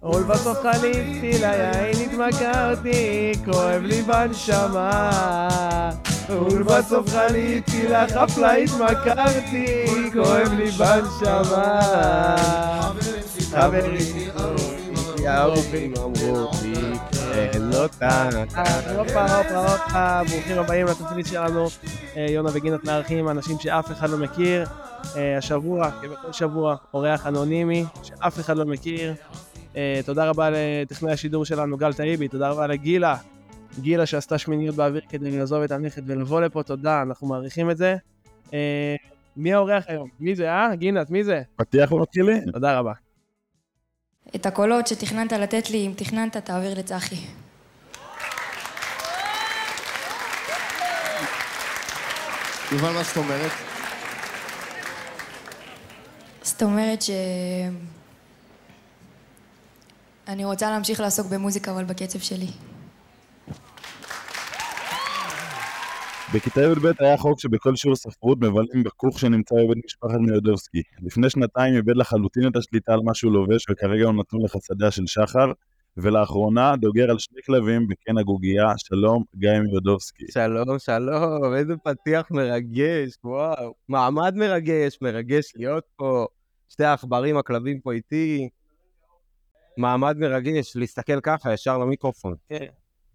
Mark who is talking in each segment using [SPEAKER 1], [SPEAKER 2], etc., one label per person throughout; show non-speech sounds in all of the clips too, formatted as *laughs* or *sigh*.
[SPEAKER 1] עול בסוף חליפתי ליין התמכרתי, כואב לי בנשמה. עול בסוף חליפתי לחפלה התמכרתי, כואב לי בנשמה. חברים, יערופים אמרו לי, כן אותה. הופה, הופה, הופה, ברוכים הבאים לתוכנית שלנו. אה, יונה וגינת מארחים אנשים שאף אחד לא מכיר. אה, השבוע, כבכל שבוע, אורח אנונימי שאף אחד לא מכיר. אה, תודה רבה לטכנאי השידור שלנו, גל טייבי, תודה רבה לגילה. גילה שעשתה שמיניות באוויר כדי לעזוב את הנכד ולבוא לפה, תודה, אנחנו מעריכים את זה. אה, מי האורח היום? מי זה, אה? גינת, מי זה?
[SPEAKER 2] פתיח ומתחילים.
[SPEAKER 1] תודה רבה.
[SPEAKER 3] את הקולות שתכננת לתת לי, אם תכננת, תעביר לצחי.
[SPEAKER 4] יובל, מה זאת אומרת?
[SPEAKER 3] זאת אומרת ש... אני רוצה להמשיך לעסוק במוזיקה, אבל בקצב שלי.
[SPEAKER 2] בכיתה י"ב היה חוק שבכל שיעור ספרות מבלים בכוך שנמצא בבית משפחת מיודובסקי. לפני שנתיים איבד לחלוטין את השליטה על מה שהוא לובש, וכרגע הוא נתון לחסדיה של שחר, ולאחרונה דוגר על שני כלבים בקן הגוגייה, שלום גיא מיודובסקי.
[SPEAKER 5] שלום, שלום, איזה פתיח מרגש, וואו. מעמד מרגש, מרגש להיות פה. שתי העכברים, הכלבים פה איתי. מעמד מרגש, להסתכל ככה ישר למיקרופון.
[SPEAKER 1] כן.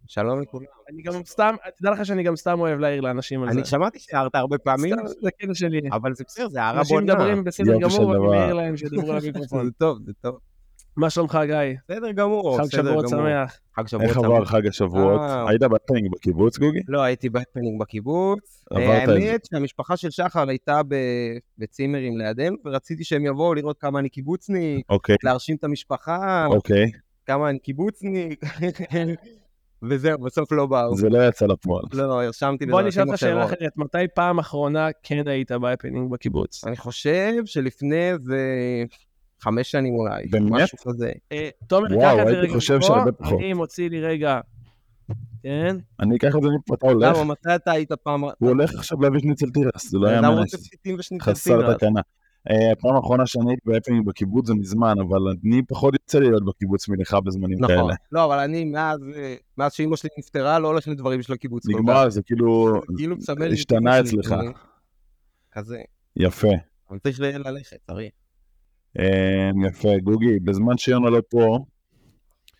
[SPEAKER 5] שלום לכולם.
[SPEAKER 1] אני גם סתם, תדע לך שאני גם סתם אוהב להעיר לאנשים על זה.
[SPEAKER 5] אני שמעתי שהערת הרבה פעמים,
[SPEAKER 1] סתם, זה קטע שלי.
[SPEAKER 5] אבל זה בסדר, זה הערה
[SPEAKER 1] אנשים
[SPEAKER 5] בונה.
[SPEAKER 1] מדברים בסדר
[SPEAKER 2] יופי של
[SPEAKER 1] גמור, ואני
[SPEAKER 2] דבר.
[SPEAKER 1] מעיר להם שידברו למיקרופון.
[SPEAKER 5] זה טוב, זה טוב.
[SPEAKER 1] *laughs* מה שלומך, גיא?
[SPEAKER 5] בסדר גמור,
[SPEAKER 1] חג
[SPEAKER 5] בסדר
[SPEAKER 1] שבועות
[SPEAKER 5] גמור.
[SPEAKER 1] שמח.
[SPEAKER 5] חג שבועות
[SPEAKER 2] איך עבר חג השבועות?
[SPEAKER 5] אה.
[SPEAKER 2] היית בטנינג בקיבוץ, גוגי?
[SPEAKER 5] לא, הייתי בהפנינג בקיבוץ.
[SPEAKER 2] עברת
[SPEAKER 5] אה,
[SPEAKER 2] את זה.
[SPEAKER 5] האמת שהמשפחה של שחר הייתה ב- בצימרים לידינו, ורציתי שהם יבואו לראות כמה אני קיבוצניק,
[SPEAKER 2] אוקיי,
[SPEAKER 5] להרשים את המשפחה,
[SPEAKER 2] אוקיי.
[SPEAKER 5] כמה אני קיבוצניק, *laughs* וזהו, בסוף לא באו.
[SPEAKER 2] זה לא יצא לפועל.
[SPEAKER 5] לא, הרשמתי לזה
[SPEAKER 1] בוא נשאל אותך
[SPEAKER 5] אנשים
[SPEAKER 1] שאלה
[SPEAKER 5] אחרות.
[SPEAKER 1] אחרת, מתי פעם אחרונה כן היית בהפנינג בקיבוץ?
[SPEAKER 5] אני חושב שלפני איזה חמש שנים אולי,
[SPEAKER 2] באמת?
[SPEAKER 5] משהו כזה.
[SPEAKER 1] אה, תומר,
[SPEAKER 2] וואו,
[SPEAKER 1] קח את זה
[SPEAKER 2] הייתי
[SPEAKER 1] רגע
[SPEAKER 2] חושב שהרבה
[SPEAKER 1] מפה,
[SPEAKER 2] פחות.
[SPEAKER 1] אני מוציא לי רגע. כן?
[SPEAKER 2] אני אקח את זה מפה, אתה הולך?
[SPEAKER 5] למה, מתי אתה היית פעם...
[SPEAKER 2] הוא הולך עכשיו להביא שניצל תירס, זה לא היה
[SPEAKER 5] אדם רוצה
[SPEAKER 2] מנס.
[SPEAKER 5] פתיתים ושניצלצים.
[SPEAKER 2] חסר תקנה. אה, הפעם האחרונה שאני הייתי בהפנינג בקיבוץ זה מזמן, אבל אני פחות יוצא לי להיות בקיבוץ מלך בזמנים
[SPEAKER 5] נכון.
[SPEAKER 2] כאלה.
[SPEAKER 5] לא, אבל אני, מאז אה, מאז שאימא שלי נפטרה, לא הולך לדברים של הקיבוץ. כל כך.
[SPEAKER 2] נגמר, זה כאילו,
[SPEAKER 5] כאילו מסמל לי
[SPEAKER 2] השתנה
[SPEAKER 5] טיפוס של
[SPEAKER 2] אצלך.
[SPEAKER 5] דברים. כזה.
[SPEAKER 2] יפה.
[SPEAKER 5] אבל צריך ל- ללכת, צריך.
[SPEAKER 2] אה, יפה, גוגי, בזמן שיונה לא פה,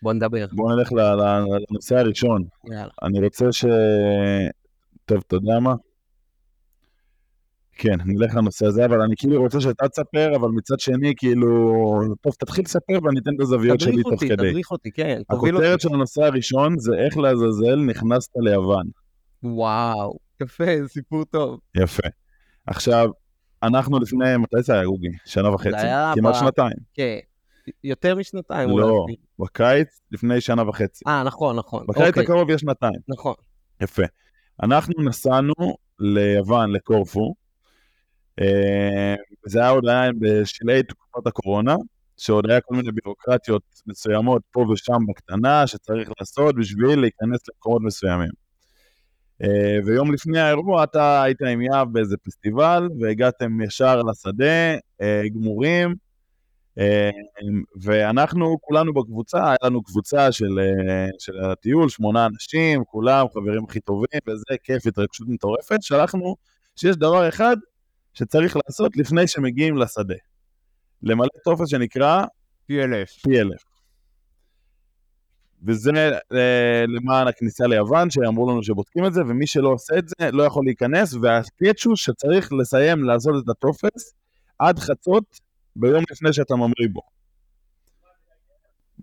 [SPEAKER 5] בוא נדבר.
[SPEAKER 2] בואו נלך ל- ל- לנושא הראשון.
[SPEAKER 5] יאללה.
[SPEAKER 2] אני רוצה ש... טוב, אתה יודע מה? כן, נלך לנושא הזה, אבל אני כאילו רוצה שאתה תספר, אבל מצד שני, כאילו, טוב, תתחיל לספר ואני אתן את הזוויות שלי
[SPEAKER 5] תדריך
[SPEAKER 2] תוך
[SPEAKER 5] אותי,
[SPEAKER 2] כדי.
[SPEAKER 5] תדריך אותי, כן. תוביל אותי.
[SPEAKER 2] הכותרת של הנושא הראשון זה איך לעזאזל נכנסת ליוון.
[SPEAKER 5] וואו. יפה, זה סיפור טוב.
[SPEAKER 2] יפה. עכשיו, אנחנו לפני, מתי זה היה גוגי? שנה וחצי.
[SPEAKER 5] היה
[SPEAKER 2] כמעט
[SPEAKER 5] ב-
[SPEAKER 2] שנתיים.
[SPEAKER 5] כן. יותר משנתיים.
[SPEAKER 2] לא.
[SPEAKER 5] אולי.
[SPEAKER 2] בקיץ, לפני שנה וחצי.
[SPEAKER 5] אה, נכון, נכון.
[SPEAKER 2] בקיץ
[SPEAKER 5] אוקיי,
[SPEAKER 2] הקרוב יש שנתיים.
[SPEAKER 5] נכון.
[SPEAKER 2] יפה. אנחנו נסענו ליוון, לקורפו. אה, זה היה עוד היה בשלהי תקופת הקורונה, שעוד היה כל מיני בירוקרטיות מסוימות פה ושם בקטנה שצריך לעשות בשביל להיכנס למקומות מסוימים. אה, ויום לפני האירוע אתה היית עם יהב באיזה פסטיבל, והגעתם ישר לשדה, אה, גמורים, אה, ואנחנו כולנו בקבוצה, היה לנו קבוצה של, אה, של הטיול, שמונה אנשים, כולם חברים הכי טובים, וזה כיף, התרגשות מטורפת, שלחנו שיש דבר אחד שצריך לעשות לפני שמגיעים לשדה. למלא טופס שנקרא
[SPEAKER 5] פי אלף.
[SPEAKER 2] פי אלף. וזה אה, למען הכניסה ליוון, שאמרו לנו שבודקים את זה, ומי שלא עושה את זה לא יכול להיכנס, והקטש הוא שצריך לסיים לעשות את הטופס עד חצות ביום לפני שאתה ממריא בו.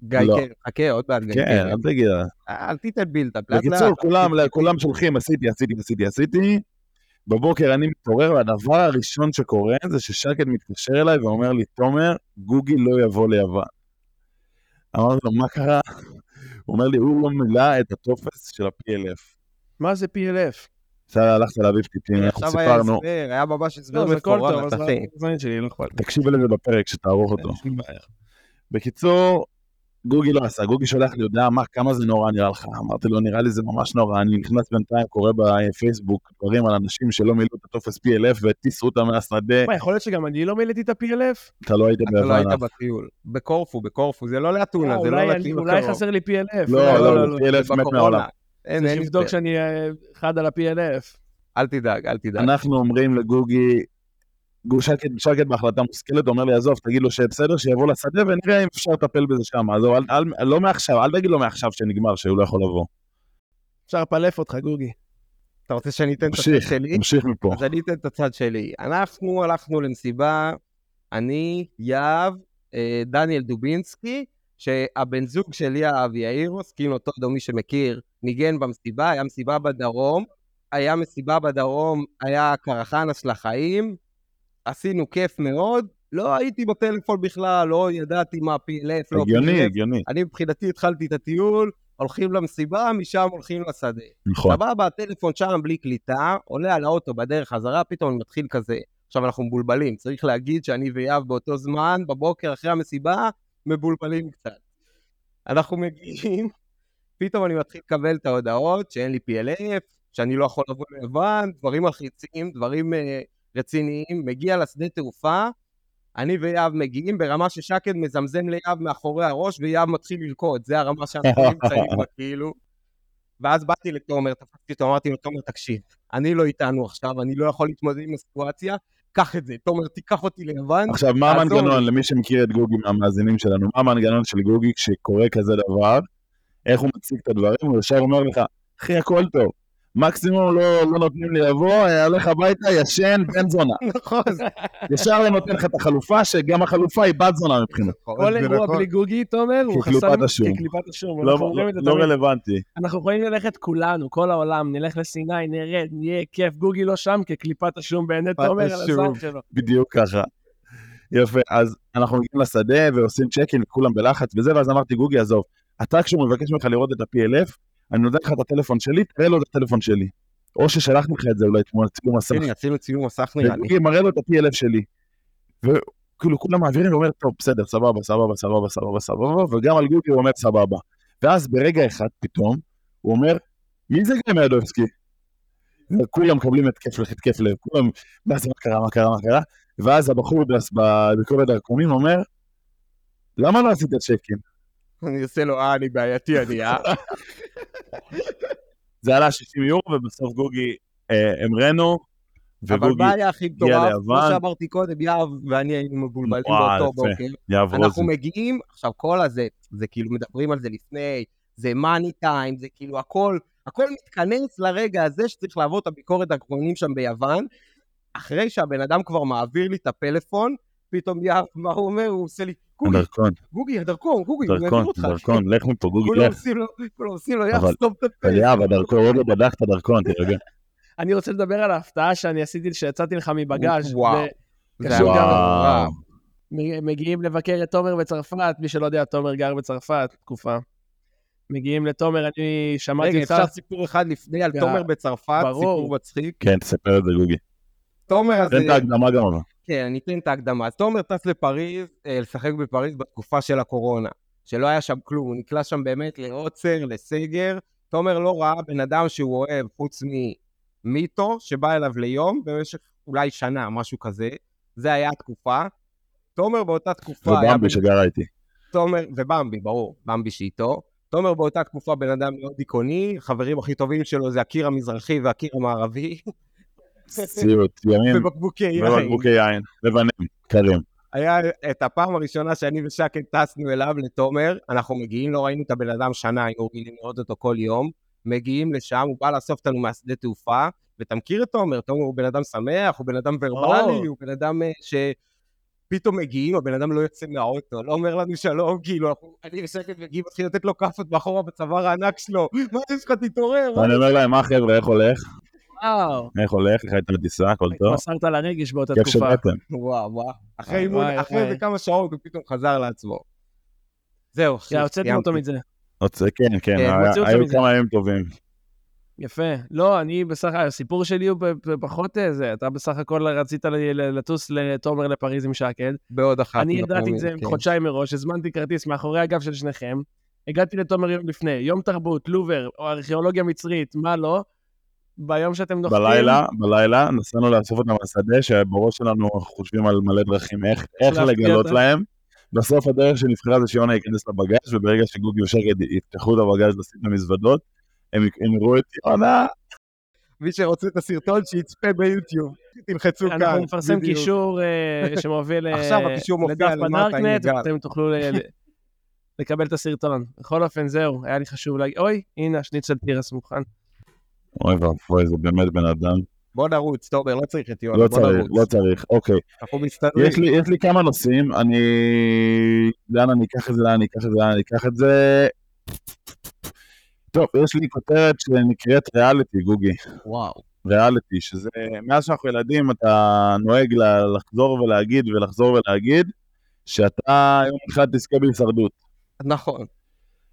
[SPEAKER 5] גיא,
[SPEAKER 2] לא.
[SPEAKER 5] כן, חכה, עוד מעט. גיא,
[SPEAKER 2] כן,
[SPEAKER 5] כן.
[SPEAKER 2] אל תגיד.
[SPEAKER 5] אל תיתן בילדאפ. לאט
[SPEAKER 2] בקיצור,
[SPEAKER 5] לאט.
[SPEAKER 2] כולם, כולם שולחים, עשיתי, עשיתי, עשיתי, עשיתי. בבוקר אני מתעורר, והדבר הראשון שקורה זה ששקד מתקשר אליי ואומר לי, תומר, גוגי לא יבוא ליוון. אמרתי לו, מה קרה? הוא אומר לי, הוא לא מילא את הטופס של הפי אלף.
[SPEAKER 1] מה זה פי אלף?
[SPEAKER 2] אתה הלכת להביא פתיתים, אנחנו
[SPEAKER 5] עכשיו היה
[SPEAKER 2] סיפרנו.
[SPEAKER 5] הסבר, היה ממש הסבר
[SPEAKER 1] לא, זה הכל
[SPEAKER 5] מפורט.
[SPEAKER 1] טוב, אז
[SPEAKER 5] אחי. כן.
[SPEAKER 1] הזמנית שלי, לא אכפת.
[SPEAKER 2] תקשיב לזה בפרק שתערוך אותו. בקיצור, גוגי לא עשה, גוגי שולח לי הודעה, מה, כמה זה נורא נראה לך? אמרתי לו, נראה לי זה ממש נורא, אני נכנס בינתיים, קורא בפייסבוק דברים על אנשים שלא מילאו את הטופס PLF והטיסו אותם מהשדה,
[SPEAKER 1] מה, יכול להיות שגם אני לא מילאתי את ה-PLF?
[SPEAKER 2] אתה לא היית
[SPEAKER 5] אתה לא
[SPEAKER 2] בהבנה.
[SPEAKER 5] היית בטיול. בקורפו, בקורפו, זה לא לאתונה,
[SPEAKER 1] אה,
[SPEAKER 5] זה לא
[SPEAKER 1] אולי-
[SPEAKER 5] לטיול
[SPEAKER 1] אולי
[SPEAKER 5] הקרוב.
[SPEAKER 1] חסר לי PLF.
[SPEAKER 2] לא,
[SPEAKER 1] אה,
[SPEAKER 2] לא, לא,
[SPEAKER 5] זה
[SPEAKER 2] PLF מת
[SPEAKER 5] בקורונה.
[SPEAKER 2] מהעולם.
[SPEAKER 5] אין,
[SPEAKER 1] צריך
[SPEAKER 5] אין
[SPEAKER 1] לבדוק
[SPEAKER 5] יותר.
[SPEAKER 1] שאני אה, חד על ה-PLF.
[SPEAKER 5] אל תדאג, אל תדאג.
[SPEAKER 2] אנחנו אומרים לגוגי, גו- שקט, שקט בהחלטה מושכלת, הוא אומר לי, עזוב, תגיד לו שבסדר, שיבוא לשדה ונראה אם אפשר לטפל בזה שם. עזוב, אל, אל, לא מעכשיו, אל תגיד לו מעכשיו שנגמר, שהוא לא יכול לבוא.
[SPEAKER 1] אפשר לפלף אותך, גוגי.
[SPEAKER 5] אתה רוצה שאני אתן את הצד
[SPEAKER 2] תמשיך,
[SPEAKER 5] שלי?
[SPEAKER 2] תמשיך מפה.
[SPEAKER 5] כן, אז אני אתן את הצד שלי. אנחנו הלכנו למסיבה, אני, יהב, אה, דניאל דובינסקי, שהבן זוג של יהב, יאיר רוסקין, אותו אדום, מי שמכיר, ניגן במסיבה, היה מסיבה בדרום, היה מסיבה בדרום, היה קרחנס לחיים, עשינו כיף מאוד, לא הייתי בטלפון בכלל, לא ידעתי מה PLF, לא
[SPEAKER 2] הגיוני,
[SPEAKER 5] PLF.
[SPEAKER 2] הגיוני.
[SPEAKER 5] אני מבחינתי התחלתי את הטיול, הולכים למסיבה, משם הולכים לשדה.
[SPEAKER 2] נכון.
[SPEAKER 5] סבבה, הטלפון שם בלי קליטה, עולה על האוטו בדרך חזרה, פתאום אני מתחיל כזה. עכשיו אנחנו מבולבלים, צריך להגיד שאני ויהב באותו זמן, בבוקר אחרי המסיבה, מבולבלים קצת. אנחנו מגיעים, פתאום אני מתחיל לקבל את ההודעות שאין לי PLF, שאני לא יכול לבוא לבד, דברים מלחיצים, דברים אה, רציניים. מגיע לשדה תעופה, אני ויהב מגיעים ברמה ששקד מזמזם ליהב מאחורי הראש, ויהב מתחיל לרקוד, זה הרמה שאנחנו נמצאים *laughs* בה, כאילו. ואז באתי לתומר, תפסתי אותו, אמרתי לו, תומר, תקשיב, אני לא איתנו עכשיו, אני לא יכול להתמודד עם הסיטואציה, קח את זה, תומר, תיקח אותי ליוון.
[SPEAKER 2] עכשיו, מה
[SPEAKER 5] תעזור
[SPEAKER 2] המנגנון, למי שמכיר את גוגי מהמאזינים שלנו, מה המנגנון של גוגי כשקורה כזה דבר, איך הוא מציג את הדברים, הוא ישר אומר לך, אחי, הכל טוב. מקסימום לא, לא נותנים לי לבוא, אה, הולך הביתה, ישן, בן
[SPEAKER 1] *laughs*
[SPEAKER 2] זונה.
[SPEAKER 5] נכון, זה
[SPEAKER 2] ישר אני נותן לך את החלופה, שגם החלופה היא בת זונה מבחינתי.
[SPEAKER 5] נכון.
[SPEAKER 1] כל אירוע
[SPEAKER 4] נכון.
[SPEAKER 1] בלי גוגי, תומר, הוא חסם...
[SPEAKER 2] כקליפת השום.
[SPEAKER 1] כקליפת השום.
[SPEAKER 2] לא,
[SPEAKER 1] אנחנו אומרים את זה
[SPEAKER 2] לא
[SPEAKER 1] תמיד.
[SPEAKER 2] רלוונטי.
[SPEAKER 1] אנחנו יכולים ללכת כולנו, כל העולם, נלך לסיני, נרד, נהיה כיף, גוגי לא שם כקליפת השום בעיני
[SPEAKER 2] אה,
[SPEAKER 1] תומר על הזעם
[SPEAKER 5] השום.
[SPEAKER 1] שלו.
[SPEAKER 2] בדיוק ככה. יפה, אז אנחנו מגיעים לשדה ועושים צ'קין וכולם בלחץ וזה, ואז אמרתי, גוגי, עזוב, אתה כשהוא מבקש ממך לראות את ה-PLF, אני נותן לך את הטלפון שלי, תראה לו את הטלפון שלי. או ששלחתי לך את זה אולי תמונת צילום מסך.
[SPEAKER 5] הנה, עשינו צילום מסך נראה לי.
[SPEAKER 2] וגוגי מראה לו את ה-PLF שלי. וכאילו כולם מעבירים ואומר, טוב, בסדר, סבבה, סבבה, סבבה, סבבה, סבבה, וגם על גוגי הוא אומר סבבה. ואז ברגע אחד פתאום, הוא אומר, מי זה גיא מיאדובסקי? וכולם מקבלים התקף לב, התקף לב, כולם, מה זה, מה קרה, מה קרה, מה קרה, ואז הבחור בס- ב- בכל הדרכונים אומר, למה לא עשית צ'קין?
[SPEAKER 5] אני עושה לו, אה, אני בעייתי, אני אה.
[SPEAKER 2] זה עלה 60 יורו, ובסוף גוגי אה, המרנו,
[SPEAKER 5] אבל
[SPEAKER 2] וגוגי
[SPEAKER 5] מה היה הכי מטורף? כמו
[SPEAKER 2] ליוון.
[SPEAKER 5] שאמרתי קודם, יהב ואני היינו מבולבלים
[SPEAKER 2] וואו,
[SPEAKER 5] באותו
[SPEAKER 2] יפה.
[SPEAKER 5] בוקר.
[SPEAKER 2] יעבור את זה.
[SPEAKER 5] אנחנו מגיעים, עכשיו כל הזה, זה כאילו מדברים על זה לפני, זה מאני טיים, זה כאילו הכל, הכל מתכנס לרגע הזה שצריך לעבור את הביקורת האחרונים שם ביוון. אחרי שהבן אדם כבר מעביר לי את הפלאפון, פתאום יער, מה הוא אומר? הוא עושה לי, גוגי,
[SPEAKER 2] דרכון,
[SPEAKER 5] גוגי, הדרכון, גוגי, הוא יעביר
[SPEAKER 2] דרכון,
[SPEAKER 5] אותך.
[SPEAKER 2] דרכון, לך מפה, גוגי,
[SPEAKER 5] כולם
[SPEAKER 2] לך.
[SPEAKER 5] עושים לו, כולם עושים לו, יער,
[SPEAKER 2] אבל-
[SPEAKER 5] סתום את הפה.
[SPEAKER 2] אבל יאב, הדרכון, עוד לא בדק את הדרכון, תירגע.
[SPEAKER 1] אני רוצה לדבר על ההפתעה שאני עשיתי, שיצאתי לך מבגאז'.
[SPEAKER 5] וואו.
[SPEAKER 1] זה
[SPEAKER 5] זה היה
[SPEAKER 1] קשור גם-
[SPEAKER 5] נורא.
[SPEAKER 2] וואו.
[SPEAKER 1] מ- מגיעים לבקר את תומר בצרפת, מי שלא יודע, תומר גר בצרפת תקופה. מגיעים לתומר, אני
[SPEAKER 5] רגע,
[SPEAKER 1] שמעתי אותך,
[SPEAKER 5] אפשר סיפור אחד לפני על
[SPEAKER 1] יא,
[SPEAKER 5] תומר בצרפת,
[SPEAKER 1] ברור.
[SPEAKER 5] סיפור מצחיק.
[SPEAKER 2] כן, תספר את זה, גוגי.
[SPEAKER 5] תומר הזה...
[SPEAKER 2] תן את ההקדמה גם אבל.
[SPEAKER 5] כן, אני אתן את ההקדמה. אז תומר טס לפריז, אה, לשחק בפריז בתקופה של הקורונה, שלא היה שם כלום, הוא נקלע שם באמת לעוצר, לסגר. תומר לא ראה בן אדם שהוא אוהב, חוץ ממיטו, שבא אליו ליום במשך אולי שנה, משהו כזה. זה היה התקופה. תומר באותה תקופה היה...
[SPEAKER 2] ובמבי שגרה איתי.
[SPEAKER 5] תומר, ובמבי, ברור, במבי שאיתו. תומר באותה תקופה בן אדם מאוד דיכאוני, החברים הכי טובים שלו זה הקיר המזרחי והקיר המערבי,
[SPEAKER 2] סיוט, ימים,
[SPEAKER 5] ובקבוקי יין.
[SPEAKER 2] כן. ובקבוקי יין, לבנים, קרים.
[SPEAKER 5] היה את הפעם הראשונה שאני ושקד טסנו אליו לתומר, אנחנו מגיעים, לא ראינו את הבן אדם שנה, היינו רגילים לראות אותו כל יום, מגיעים לשם, הוא בא לאסוף אותנו מהשדה תעופה, ואתה מכיר את תומר, תומר הוא בן אדם שמח, הוא בן אדם
[SPEAKER 1] ברור.
[SPEAKER 5] ורבלי, הוא בן אדם אה, שפתאום מגיעים, הבן אדם לא יוצא מהאוטו, לא אומר לנו שלום, כאילו, אנחנו- אני ושקד מגיעים, מתחיל לתת לו כאפות מאחורה בצוואר הענק שלו, מה יש לך, תתעורר, מה
[SPEAKER 2] ואני אומר להם, מה חבר'ה, איך הולך?
[SPEAKER 1] וואו,
[SPEAKER 2] איך הולך? איך הייתה הטיסה, הכל טוב?
[SPEAKER 1] התמסרת לרגש באותה
[SPEAKER 2] כיף
[SPEAKER 1] תקופה.
[SPEAKER 2] שבאתם.
[SPEAKER 5] וואו, וואו. אחרי
[SPEAKER 1] וואי,
[SPEAKER 5] אימון,
[SPEAKER 1] וואי,
[SPEAKER 5] אחרי
[SPEAKER 1] וואי.
[SPEAKER 5] איזה כמה שעות הוא פתאום חזר לעצמו. זהו, אחי,
[SPEAKER 1] יא, הוצאתם אותו
[SPEAKER 5] סיימתי.
[SPEAKER 1] מזה.
[SPEAKER 2] עוד- כן, כן,
[SPEAKER 5] כן,
[SPEAKER 2] היה-
[SPEAKER 1] הוציאו אותם
[SPEAKER 2] היו
[SPEAKER 1] מזה.
[SPEAKER 2] כמה ימים טובים.
[SPEAKER 1] יפה. לא, אני בסך הכל, הסיפור שלי הוא ב- ב- פחות אה, זה, אתה בסך הכל רצית ל- ל- לטוס לתומר לפריז עם שקד.
[SPEAKER 5] בעוד אחת.
[SPEAKER 1] אני ידעתי את
[SPEAKER 5] לפעמים,
[SPEAKER 1] זה
[SPEAKER 5] אה, כן.
[SPEAKER 1] חודשיים מראש, הזמנתי כרטיס מאחורי הגב של שניכם, הגעתי לתומר יום לפני, יום תרבות, לובר, או ארכיאולוגיה מצרית, מה לא, ביום שאתם נוחתים...
[SPEAKER 2] בלילה, בלילה, נסענו לאסוף אותם מהשדה, שבראש שלנו אנחנו חושבים על מלא דרכים איך, איך
[SPEAKER 1] להפתיע
[SPEAKER 2] לגלות
[SPEAKER 1] אותם.
[SPEAKER 2] להם. בסוף הדרך שנבחרה זה שיונה ייכנס לבגז, וברגע שגוגי ושקד יפתחו את הבגז לשים את המזוודות, הם יק- הם יראו את יונה,
[SPEAKER 5] מי שרוצה את הסרטון, שיצפה ביוטיוב. תלחצו כאן.
[SPEAKER 1] אנחנו נפרסם
[SPEAKER 5] בדיוק.
[SPEAKER 1] קישור אה,
[SPEAKER 5] *laughs*
[SPEAKER 1] שמוביל אה,
[SPEAKER 5] עכשיו הקישור מופיע
[SPEAKER 1] לדף
[SPEAKER 5] למטה, עם
[SPEAKER 1] בדארקנט,
[SPEAKER 5] גל.
[SPEAKER 1] ואתם תוכלו ל- ל- לקבל את הסרטון. בכל אופן, זהו, היה לי חשוב להגיד, אוי, הנה השניצל תירס מוכן.
[SPEAKER 2] אוי ואבוי, זה באמת בן אדם.
[SPEAKER 5] בוא נרוץ, תומר, לא צריך את יונה,
[SPEAKER 2] לא
[SPEAKER 5] בוא
[SPEAKER 2] צריך, לא
[SPEAKER 5] נרוץ.
[SPEAKER 2] צריך, אוקיי.
[SPEAKER 5] אנחנו מסתדרים.
[SPEAKER 2] יש לי, יש לי כמה נושאים, אני... לאן אני אקח את זה, לאן אני אקח את זה, לאן אני אקח את זה. טוב, יש לי כותרת שנקראת ריאליטי, גוגי.
[SPEAKER 5] וואו.
[SPEAKER 2] ריאליטי, שזה מאז שאנחנו ילדים אתה נוהג ל- לחזור ולהגיד ולחזור ולהגיד שאתה יום אחד תזכה בהישרדות.
[SPEAKER 5] נכון.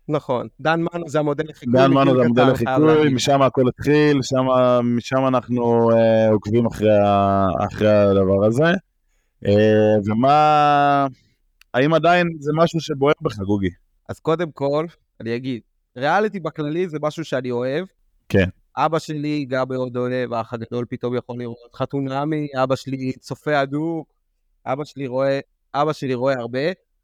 [SPEAKER 5] נכון. דן מנו זה המודל לחיקוי.
[SPEAKER 2] דן מנו
[SPEAKER 5] מגיל
[SPEAKER 2] זה המודל
[SPEAKER 5] קטן, חייב
[SPEAKER 2] לחיקוי,
[SPEAKER 5] להגיד.
[SPEAKER 2] משם הכל התחיל, שמה- משם אנחנו אה, עוקבים אחרי ה- אחרי הדבר הזה. אה, ומה... האם עדיין זה משהו שבוער בך,
[SPEAKER 5] *laughs*
[SPEAKER 2] גוגי?
[SPEAKER 5] אז קודם כל, אני אגיד, ריאליטי בכללי זה משהו שאני אוהב.
[SPEAKER 2] כן.
[SPEAKER 5] אבא שלי גר בהוד אוהב, האח הגדול פתאום יכול לראות חתונמי, אבא שלי צופה הדוק, אבא שלי רואה, אבא שלי רואה הרבה.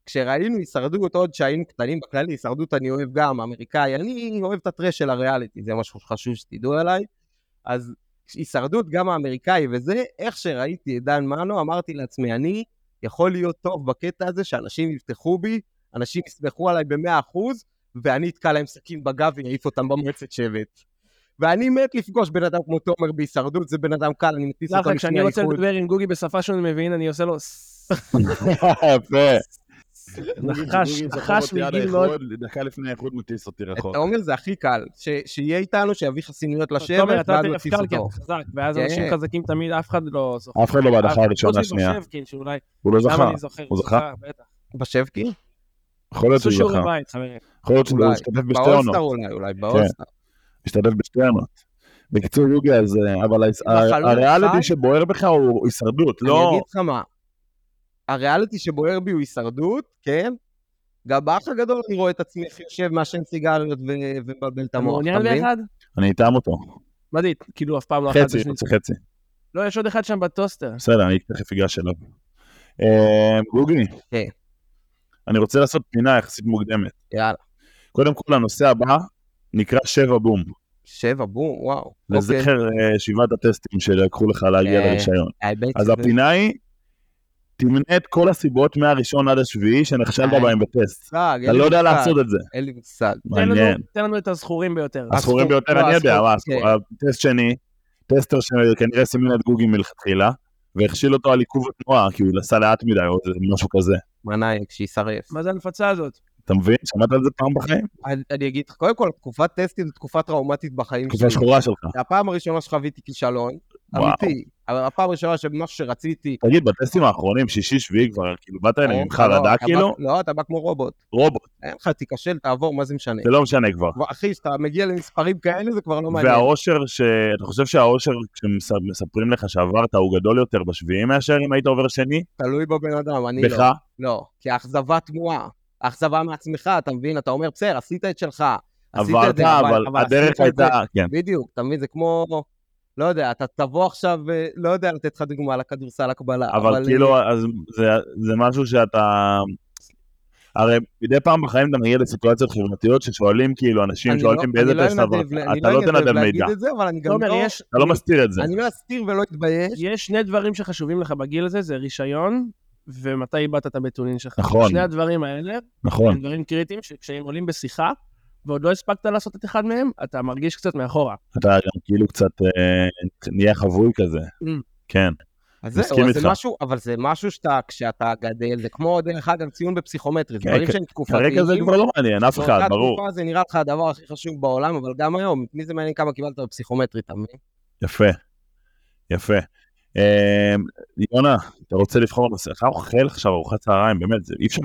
[SPEAKER 5] כשראינו הישרדות עוד שהיינו קטנים בכללי, הישרדות אני אוהב גם, אמריקאי, אני אוהב את הטרש של הריאליטי, זה משהו שחשוב שתדעו עליי. אז הישרדות גם האמריקאי וזה, איך שראיתי את דן מנו, אמרתי לעצמי, אני יכול להיות טוב בקטע הזה שאנשים יבטחו בי אנשים יסמכו עליי במאה אחוז, ואני אתקע להם סכין בגב ויעיף אותם במועצת שבט. ואני מת לפגוש בן אדם כמו תומר בהישרדות, זה בן אדם קל, אני מטיס אותו
[SPEAKER 1] ככה,
[SPEAKER 5] לפני
[SPEAKER 1] כשאני רוצה
[SPEAKER 5] האיחוד.
[SPEAKER 1] לדבר עם גוגי בשפה שהוא מבין, אני עושה לו
[SPEAKER 5] *laughs*
[SPEAKER 1] ס-
[SPEAKER 2] יפה.
[SPEAKER 1] נחש, נחש מגיל מאוד...
[SPEAKER 2] דקה לפני האיחוד מטיס אותי רחוק.
[SPEAKER 5] תומר זה הכי קל, ש- שיהיה איתנו, שיביא חסינויות
[SPEAKER 1] תומר,
[SPEAKER 5] לשבט,
[SPEAKER 1] אתה
[SPEAKER 5] ואז
[SPEAKER 1] יותר
[SPEAKER 5] נטיס
[SPEAKER 1] אפקר כי
[SPEAKER 5] אותו.
[SPEAKER 1] אתה חזק, ואז
[SPEAKER 5] כן.
[SPEAKER 1] אנשים חזקים תמיד, אף אחד לא זוכר.
[SPEAKER 2] אף אחד לא בהדחה הראשונה, השנייה.
[SPEAKER 1] חוץ מבשבקין, כן, שאולי...
[SPEAKER 2] הוא לא
[SPEAKER 1] למה
[SPEAKER 2] זכה.
[SPEAKER 1] אני זוכר?
[SPEAKER 2] הוא זכה?
[SPEAKER 1] בטח.
[SPEAKER 5] בשבקי?
[SPEAKER 2] יכול להיות
[SPEAKER 1] עשו
[SPEAKER 2] שהוא
[SPEAKER 1] שיעורי
[SPEAKER 2] זכה.
[SPEAKER 1] בית, חברים.
[SPEAKER 2] יכול להיות שהוא
[SPEAKER 5] אולי.
[SPEAKER 2] השתתף בשתי
[SPEAKER 5] באולסטאר
[SPEAKER 2] עונות. כן.
[SPEAKER 5] אולי, אולי באולסטאר.
[SPEAKER 2] השתתף בשתי עונות. בקיצור, יוגי, אז... אה, אבל ה-
[SPEAKER 5] בחלום
[SPEAKER 2] הריאליטי
[SPEAKER 5] חי?
[SPEAKER 2] שבוער בך הוא הישרדות,
[SPEAKER 5] אני
[SPEAKER 2] לא...
[SPEAKER 5] אגיד לך מה, הריאליטי שבוער בי הוא הישרדות, כן? גם באח הגדול אני רואה את עצמי איך יושב, מעשן סיגריות ו- ומבלבל את
[SPEAKER 1] אתה
[SPEAKER 5] המוח, אתה
[SPEAKER 1] מעוניין
[SPEAKER 5] מבין?
[SPEAKER 1] באחד?
[SPEAKER 2] אני איתם אותו.
[SPEAKER 1] מדהים, כאילו אף פעם לא אחד
[SPEAKER 2] חצי,
[SPEAKER 1] בשני.
[SPEAKER 2] חצי, חצי.
[SPEAKER 1] לא, יש עוד אחד שם בטוסטר.
[SPEAKER 2] בסדר, אני תכף אגש אליו. אה, גוגי,
[SPEAKER 5] כן.
[SPEAKER 2] אני רוצה לעשות פינה יחסית מוקדמת.
[SPEAKER 5] יאללה.
[SPEAKER 2] קודם כל, הנושא הבא נקרא שבע בום.
[SPEAKER 5] שבע, בום, וואו. אוקיי.
[SPEAKER 2] לזכר אה, שבעת הטסטים שלקחו לך להגיע
[SPEAKER 5] אה,
[SPEAKER 2] לרישיון.
[SPEAKER 5] האמת
[SPEAKER 2] כן. אז
[SPEAKER 5] שזה-
[SPEAKER 2] הפינה היא, תמנה את כל הסיבות מהראשון עד השביעי שנכשלת
[SPEAKER 5] אה.
[SPEAKER 2] בהן בטסט.
[SPEAKER 5] מושג, אין
[SPEAKER 2] אתה
[SPEAKER 5] לי
[SPEAKER 2] לא יודע
[SPEAKER 5] מושג,
[SPEAKER 2] לעשות את זה.
[SPEAKER 5] אין לי מושג.
[SPEAKER 1] תן לנו-
[SPEAKER 2] מעניין.
[SPEAKER 1] תן לנו את הזכורים ביותר.
[SPEAKER 2] הזכורים
[SPEAKER 5] הסכום-
[SPEAKER 2] ביותר,
[SPEAKER 5] לא,
[SPEAKER 2] אני יודע,
[SPEAKER 5] הסכום,
[SPEAKER 2] מה, הסכור- הטסט שני, טסטר שכנראה סימן את גוגי מלכתחילה, והכשיל אותו על עיכוב התנועה, כי הוא נסע לאט מדי או איזה משהו כזה.
[SPEAKER 5] מנאייק, שישרף.
[SPEAKER 1] מה זה הנפצה הזאת?
[SPEAKER 2] אתה מבין? שמעת על זה פעם
[SPEAKER 5] *laughs*
[SPEAKER 2] בחיים?
[SPEAKER 5] אני אני אגיד לך, קודם כל, תקופת טסטים זו תקופה טראומטית בחיים
[SPEAKER 2] תקופה
[SPEAKER 5] שלי.
[SPEAKER 2] שחורה שלך.
[SPEAKER 5] זה הפעם הראשונה שחוויתי כישלון,
[SPEAKER 2] וואו.
[SPEAKER 5] אמיתי. אבל הפעם הראשונה שמשהו שרציתי...
[SPEAKER 2] תגיד, בטסטים האחרונים, שישי, שביעי כבר, כאילו, באת אליהם עם
[SPEAKER 5] אתה
[SPEAKER 2] חרדה,
[SPEAKER 5] לא, אתה
[SPEAKER 2] כאילו,
[SPEAKER 5] בא- לא, אתה בא כמו רובוט.
[SPEAKER 2] רובוט,
[SPEAKER 5] אין לך, תיכשל, תעבור, מה זה משנה?
[SPEAKER 2] זה לא משנה כבר.
[SPEAKER 5] כבר- אחי, כשאתה מגיע למספרים כאלה, זה כבר לא מעניין.
[SPEAKER 2] והאושר, ש... אתה חושב שהאושר, כשמספרים לך שעברת, הוא גדול יותר בשביעי מאשר אם היית עובר שני?
[SPEAKER 5] תלוי בבן אדם, אני
[SPEAKER 2] בך?
[SPEAKER 5] לא. לא, כי האכזבה תמוהה. האכזבה מעצמך, אתה מבין? אתה אומר, בסדר, עשית את שלך. עשית את
[SPEAKER 2] עברת,
[SPEAKER 5] זה,
[SPEAKER 2] אבל הדרך
[SPEAKER 5] עשית את זה."
[SPEAKER 2] הייתה, כן.
[SPEAKER 5] בדיוק, אתה מבין? זה כמו, לא יודע, אתה תבוא עכשיו, אה, לא יודע לתת לך דוגמה על הכדורסל הקבלה. אה,
[SPEAKER 2] אבל כאילו, אז זה- זה משהו שאתה... הרי מדי פעם בחיים אתה מגיע לסיטואציות חברתיות ששואלים, כאילו, אנשים
[SPEAKER 5] אני
[SPEAKER 2] שואלים
[SPEAKER 5] לא-
[SPEAKER 2] באיזה
[SPEAKER 5] אני לא
[SPEAKER 2] טסט
[SPEAKER 5] אנדב
[SPEAKER 2] עברת.
[SPEAKER 5] ל- אני
[SPEAKER 2] אתה לא
[SPEAKER 5] אנדב
[SPEAKER 2] תנדב
[SPEAKER 5] להגיד
[SPEAKER 2] מידע,
[SPEAKER 5] את זה, אבל אני גם
[SPEAKER 1] תומר,
[SPEAKER 5] לא...
[SPEAKER 1] יש-
[SPEAKER 2] אתה לא מסתיר את זה.
[SPEAKER 5] אני לא אסתיר ולא אתבייש.
[SPEAKER 1] יש שני דברים שחשובים לך בגיל הזה, זה רישיון, ומתי איבדת את הבטונין שלך.
[SPEAKER 2] נכון.
[SPEAKER 1] שני הדברים האלה
[SPEAKER 2] נכון.
[SPEAKER 1] הם דברים קריטיים, שכשהם עולים בשיחה, ועוד לא הספקת לעשות את אחד מהם, אתה מרגיש קצת מאחורה.
[SPEAKER 2] אתה גם כאילו קצת אה, נהיה חבוי כזה.
[SPEAKER 1] Mm.
[SPEAKER 2] כן.
[SPEAKER 5] אז זהו,
[SPEAKER 2] מסכים
[SPEAKER 5] אז זה
[SPEAKER 2] איתך.
[SPEAKER 5] משהו, אבל זה משהו שאתה, כשאתה גדל, זה כמו, דרך אגב, ציון בפסיכומטרי, זה
[SPEAKER 2] כן,
[SPEAKER 5] דברים
[SPEAKER 2] כ-
[SPEAKER 5] שהם תקופתיים.
[SPEAKER 2] כרגע זה כבר לא מעניין, אף אחד,
[SPEAKER 5] באותה
[SPEAKER 2] ברור.
[SPEAKER 5] תקופה זה נראה לך הדבר הכי חשוב בעולם, אבל גם היום, מי זה מעניין כמה קיבלת בפסיכומטרי, אתה מבין?
[SPEAKER 2] יפה, יפה. אה, יונה, אתה רוצה לבחור נושא? אתה אוכל עכשיו ארוחת צהריים, באמת, זה אי אפשר...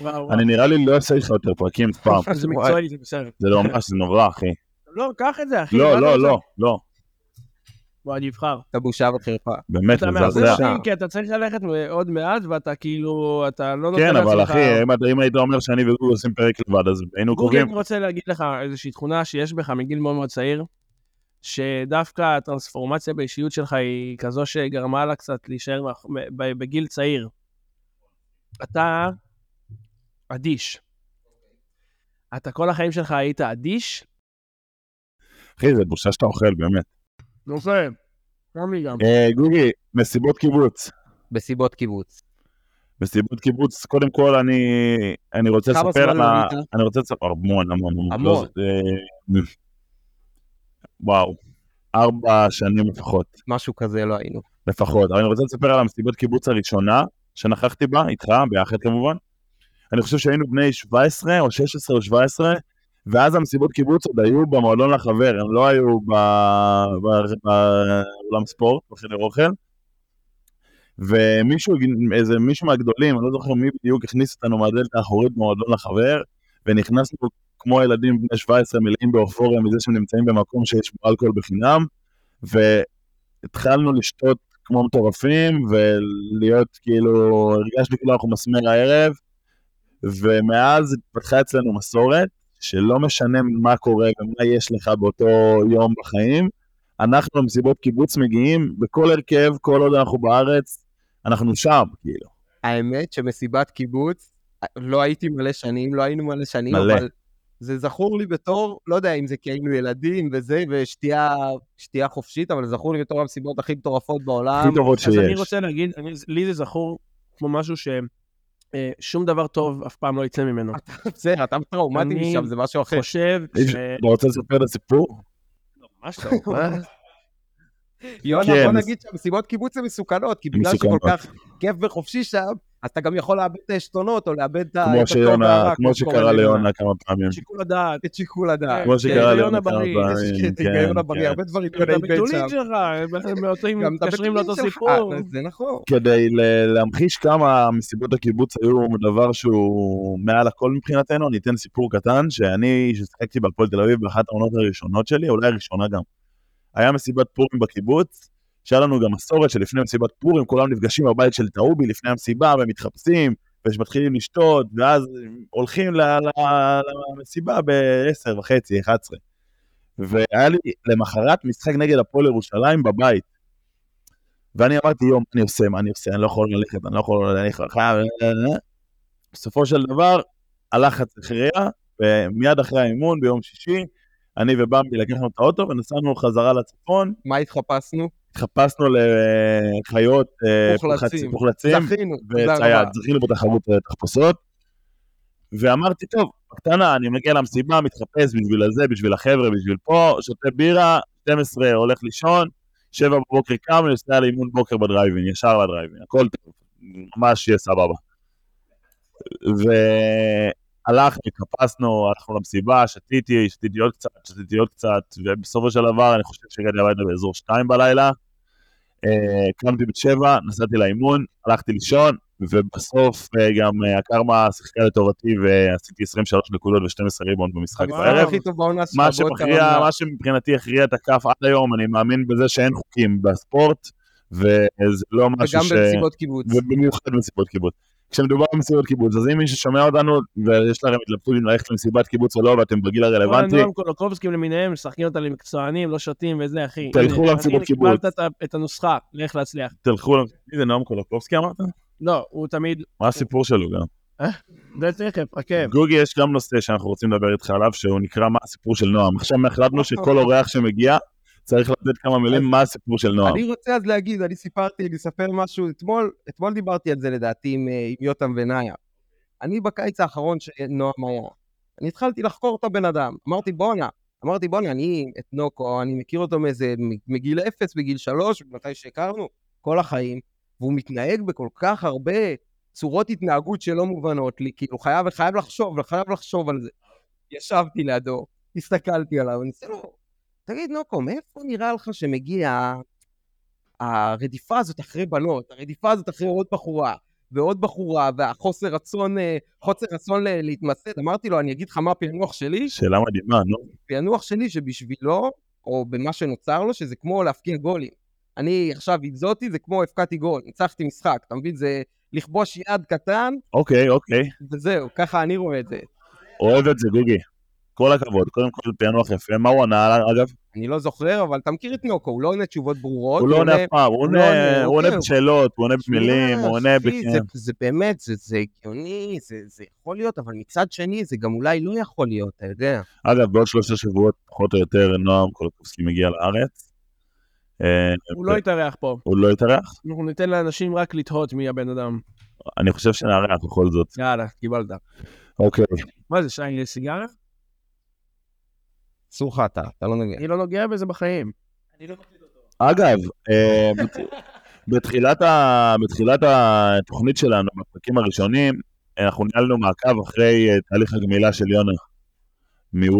[SPEAKER 1] וואו,
[SPEAKER 2] אני נראה לי לא אעשה איתך יותר פרקים אף פעם.
[SPEAKER 5] *laughs*
[SPEAKER 1] וואו. זה מקצועי, זה בסדר.
[SPEAKER 2] זה לא ממש, זה נורא, אחי.
[SPEAKER 1] לא, קח את זה, אחי. מה
[SPEAKER 2] לא,
[SPEAKER 1] אתה
[SPEAKER 2] לא,
[SPEAKER 1] רוצה?
[SPEAKER 2] לא, לא.
[SPEAKER 1] בוא, אני אבחר.
[SPEAKER 5] אתה בושה וחרפה.
[SPEAKER 2] באמת,
[SPEAKER 1] אתה
[SPEAKER 2] מזעזע.
[SPEAKER 1] מהבושים, כי אתה צריך ללכת עוד מעט, ואתה כאילו, אתה לא נותן
[SPEAKER 2] כן,
[SPEAKER 1] לעצמך...
[SPEAKER 2] אבל אחי, אם אתה- אם היית אומר שאני וגוגל עושים פרק לבד, אז היינו
[SPEAKER 1] גוגל
[SPEAKER 2] קרובים.
[SPEAKER 1] רוצה להגיד לך איזושהי תכונה שיש בך מגיל מאוד מאוד צעיר, שדווקא הטרנספורמציה באישיות שלך היא כזו שגרמה לה קצת להישאר מאח- ב- ב- בגיל צעיר. אתה אדיש. אתה כל החיים שלך היית אדיש?
[SPEAKER 2] אחי, זה בושה שאתה אוכל, באמת.
[SPEAKER 1] נושא. גם לי גם.
[SPEAKER 2] אה, גוגי, מסיבות קיבוץ.
[SPEAKER 5] בסיבות קיבוץ.
[SPEAKER 2] מסיבות קיבוץ, קודם כל אני, אני רוצה
[SPEAKER 5] כמה
[SPEAKER 2] לספר
[SPEAKER 5] זמן לא
[SPEAKER 2] על ה...
[SPEAKER 5] לבית?
[SPEAKER 2] אני רוצה לספר, המון, המון, המון.
[SPEAKER 5] המון.
[SPEAKER 2] לא, זה- אה, וואו, ארבע שנים לפחות,
[SPEAKER 5] משהו כזה לא היינו.
[SPEAKER 2] לפחות. אבל אני רוצה לספר על המסיבת קיבוץ הראשונה שנכחתי בה, איתך, ביחד כמובן. אני חושב שהיינו בני 17 או 16 או 17, ואז המסיבות קיבוץ עוד היו במועדון לחבר, הם לא היו ב- ב- באולם ספורט, בחדר אוכל. ומישהו, איזה מישהו מהגדולים, אני לא זוכר מי בדיוק, הכניס אותנו מהדלת האחורית במועדון לחבר, ונכנסנו כמו ילדים בני 17 מלאים באופוריה מזה שהם נמצאים במקום שיש בו אלכוהול בחינם, והתחלנו לשתות כמו מטורפים, ולהיות כאילו, הרגשנו כאילו אנחנו מסמר הערב, ומאז התפתחה אצלנו מסורת, שלא משנה מה קורה ומה יש לך באותו יום בחיים, אנחנו למסיבות קיבוץ מגיעים בכל הרכב, כל עוד אנחנו בארץ, אנחנו שם, כאילו.
[SPEAKER 5] האמת שמסיבת קיבוץ, לא הייתי מלא שנים, לא היינו מלא שנים,
[SPEAKER 2] מלא.
[SPEAKER 5] אבל זה זכור לי בתור, לא יודע אם זה כי היינו ילדים וזה, ושתייה שתייה חופשית, אבל זכור לי בתור המסיבות הכי מטורפות בעולם.
[SPEAKER 2] הכי טובות שיש.
[SPEAKER 1] אה, אז כן, אני רוצה להגיד, אני, לי זה זכור כמו משהו ששום דבר טוב אף פעם לא יצא ממנו.
[SPEAKER 5] זה, אתה טראומטי
[SPEAKER 1] אני
[SPEAKER 5] משם, זה משהו אחר.
[SPEAKER 1] חושב
[SPEAKER 2] אי
[SPEAKER 1] ש...
[SPEAKER 2] אפשר- אתה רוצה לספר את הסיפור?
[SPEAKER 1] לא, ממש טוב.
[SPEAKER 5] יונה,
[SPEAKER 2] כן,
[SPEAKER 5] בוא
[SPEAKER 2] מס-
[SPEAKER 5] נגיד שהמסיבות קיבוץ הן מסוכנות, כי בגלל שכל
[SPEAKER 2] מסוכנות.
[SPEAKER 5] כך כיף וחופשי שם, אז אתה גם יכול לאבד את העשתונות, או לאבד את ה... את
[SPEAKER 2] כמו
[SPEAKER 5] הטוב
[SPEAKER 2] שיונה,
[SPEAKER 5] והרע,
[SPEAKER 2] כמו
[SPEAKER 5] שקורה
[SPEAKER 2] שקרה
[SPEAKER 5] ליונה.
[SPEAKER 2] ליונה כמה פעמים.
[SPEAKER 1] שיקול הדעת.
[SPEAKER 5] את שיקול
[SPEAKER 1] כן,
[SPEAKER 5] הדעת.
[SPEAKER 2] כמו שקרה
[SPEAKER 1] היגיון
[SPEAKER 2] ליונה כמה
[SPEAKER 1] הבריא, *laughs*
[SPEAKER 5] יש
[SPEAKER 2] פעמים.
[SPEAKER 5] *laughs* את
[SPEAKER 2] כן,
[SPEAKER 5] ההיגיון
[SPEAKER 2] כן.
[SPEAKER 5] הבריא, הרבה דברים
[SPEAKER 1] גם את
[SPEAKER 5] יונה איבד
[SPEAKER 1] הביטולים
[SPEAKER 5] שם.
[SPEAKER 1] שלך,
[SPEAKER 5] *laughs*
[SPEAKER 1] הם מאותו-
[SPEAKER 5] גם את
[SPEAKER 1] מתקשרים לאותו
[SPEAKER 5] הביטולים שלך.
[SPEAKER 1] סיפור.
[SPEAKER 5] אה, זה נכון.
[SPEAKER 2] כדי ל- להמחיש כמה מסיבות הקיבוץ היו דבר שהוא מעל הכל מבחינתנו, אני אתן סיפור קטן, שאני, ששיחקתי בהפועל תל אביב באחת העונות הראשונות שלי, אולי הראשונה גם, היה מסיבת פורים בקיבוץ, שהיה לנו גם מסורת שלפני מסיבת פורים, כולם נפגשים בבית של טעובי לפני המסיבה, ומתחפשים, ומתחילים לשתות, ואז הולכים ל- ל- למסיבה ב-10 וחצי, 11. והיה לי למחרת משחק נגד הפועל ירושלים בבית. ואני אמרתי, יום, מה אני עושה, מה אני עושה, אני לא יכול ללכת, אני לא יכול ללכת, אני חייב... בסופו של דבר, הלחץ הכריע, ומיד אחרי האימון, ביום שישי, אני ובמבי לקחנו את האוטו ונסענו חזרה לצפון,
[SPEAKER 5] מה התחפשנו?
[SPEAKER 2] התחפשנו לחיות אה,
[SPEAKER 5] מוחלצים.
[SPEAKER 2] מוחלצים
[SPEAKER 5] זכינו. תודה רבה.
[SPEAKER 2] וצייד, זכינו בתחרות אה, תחפושות. ואמרתי, טוב, בקטנה, אני מגיע למסיבה, מתחפש בשביל הזה, בשביל החבר'ה, בשביל פה, שותה בירה, 12 הולך לישון, 7 בבוקר קם, נוסע לאימון בוקר בדרייבין, ישר לדרייבין, הכל טוב, ממש יהיה סבבה. והלכנו, התחפשנו, הלכנו למסיבה, שתיתי, שתיתי עוד קצת, שתיתי עוד קצת, ובסופו של דבר, אני חושב שהגעתי הביתה באזור 2 בלילה. אה, קמתי בשבע, נסעתי לאימון, הלכתי לישון, ובסוף אה, גם אה, הקרמה שיחקה לטובתי ועשיתי 23 נקודות ו-12 ריבון במשחק
[SPEAKER 1] וואו.
[SPEAKER 5] הדבר
[SPEAKER 2] בערב.
[SPEAKER 5] הכי טוב בעונה שלך.
[SPEAKER 2] מה
[SPEAKER 5] בוא
[SPEAKER 2] שמכריע,
[SPEAKER 5] תרמה.
[SPEAKER 2] מה שמבחינתי הכריע את הכף עד היום, אני מאמין בזה שאין חוקים בספורט, וזה לא משהו
[SPEAKER 5] וגם
[SPEAKER 2] ש...
[SPEAKER 5] במסיבות קיבוץ.
[SPEAKER 2] ובמיוחד מסיבות קיבוץ. כשמדובר במסיבות קיבוץ, אז אם מישהו שומע אותנו, ויש לכם התלבטות אם ללכת למסיבת קיבוץ או לא, ואתם בגיל
[SPEAKER 1] כל
[SPEAKER 2] הרלוונטי,
[SPEAKER 1] הנועם קולקובסקים למיניהם, משחקים אותה למקצוענים, לא שותים וזה, אחי.
[SPEAKER 2] תלכו
[SPEAKER 1] הנה,
[SPEAKER 2] למסיבות
[SPEAKER 1] הנה,
[SPEAKER 2] קיבוץ.
[SPEAKER 1] קיבלת את ה- את הנוסחה, לך להצליח.
[SPEAKER 2] תלכו... למ- מי זה נועם קולקובסקי אמרת?
[SPEAKER 1] לא, הוא תמיד...
[SPEAKER 2] מה הסיפור שלו גם?
[SPEAKER 1] זה תכף,
[SPEAKER 5] כן.
[SPEAKER 1] עקב.
[SPEAKER 2] גוגי, יש גם נושא שאנחנו רוצים לדבר איתך עליו, שהוא נקרא מה הסיפור של נועם. עכשיו
[SPEAKER 5] נכון.
[SPEAKER 2] החלטנו שכל אורח שמגיע צריך לתת כמה מילים מה הסיפור של נועם.
[SPEAKER 5] אני רוצה אז להגיד, אני סיפרתי, אני אספר משהו, אתמול, אתמול דיברתי על זה לדעתי עם, אה, עם יותם ונאיה. אני בקיץ האחרון שנועם היה, אני התחלתי לחקור את הבן אדם, אמרתי בואנה, אמרתי בואנה, אני את נוקו, אני מכיר אותו מאיזה, מ- מגיל אפס, מגיל שלוש, מתי שהכרנו, כל החיים, והוא מתנהג בכל כך הרבה צורות התנהגות שלא מובנות לי, כאילו חייב, חייב לחשוב, חייב לחשוב על זה. ישבתי לידו, הסתכלתי עליו, אני עושה לו, תגיד נוקו, מאיפה נראה לך שמגיע הרדיפה הזאת אחרי בנות, הרדיפה הזאת אחרי עוד בחורה, ועוד בחורה, והחוסר רצון, אה, חוסר רצון ל- להתמסד. אמרתי לו, אני אגיד לך מה הפענוח שלי,
[SPEAKER 2] שאלה מדהימה, נו.
[SPEAKER 5] הפענוח שלי שבשבילו, או במה שנוצר לו, שזה כמו להפקיע גולים. אני עכשיו אקזוטי, זה כמו הפקעתי גול, ניצחתי משחק, אתה מבין? זה לכבוש יד קטן,
[SPEAKER 2] אוקיי, אוקיי.
[SPEAKER 5] וזהו, ככה אני רואה את זה.
[SPEAKER 2] אוהב את זה, גוגי. כל הכבוד. קודם כל, פענוח יפה. מה הוא ענה, אגב?
[SPEAKER 5] אני לא זוכר, אבל אתה מכיר את נוקו, הוא לא עונה תשובות ברורות.
[SPEAKER 2] הוא לא עונה אף פעם. הוא
[SPEAKER 5] הוא לא
[SPEAKER 2] עונה-
[SPEAKER 5] עונה,
[SPEAKER 2] הוא עונה
[SPEAKER 5] אוקיי.
[SPEAKER 2] בשאלות, הוא עונה במילים, הוא עונה...
[SPEAKER 5] אחי,
[SPEAKER 2] בכ-
[SPEAKER 5] זה, זה באמת, זה, זה הגיוני, זה, זה יכול להיות, אבל מצד שני, זה גם אולי לא יכול להיות, אתה יודע.
[SPEAKER 2] אגב, בעוד שלושה שבועות, פחות או יותר, נועם קולקובסקי מגיע לארץ. אה,
[SPEAKER 1] הוא לא יתארח פה.
[SPEAKER 2] הוא לא יתארח?
[SPEAKER 1] אנחנו ניתן לאנשים רק לתהות מי הבן אדם.
[SPEAKER 2] אני חושב שנארח בכל זאת.
[SPEAKER 1] יאללה, קיבלת.
[SPEAKER 2] אוקיי.
[SPEAKER 1] מה זה, שי, יש סיגריה?
[SPEAKER 5] אסור לך אתה, אתה לא מבין.
[SPEAKER 1] אני לא נוגע בזה בחיים.
[SPEAKER 2] אגב, אה, בת- בתחילת ה- בתחילת התוכנית שלנו, בפרקים הראשונים, אנחנו ניהלנו מעקב אחרי אה, תהליך הגמילה של יונה מוויד.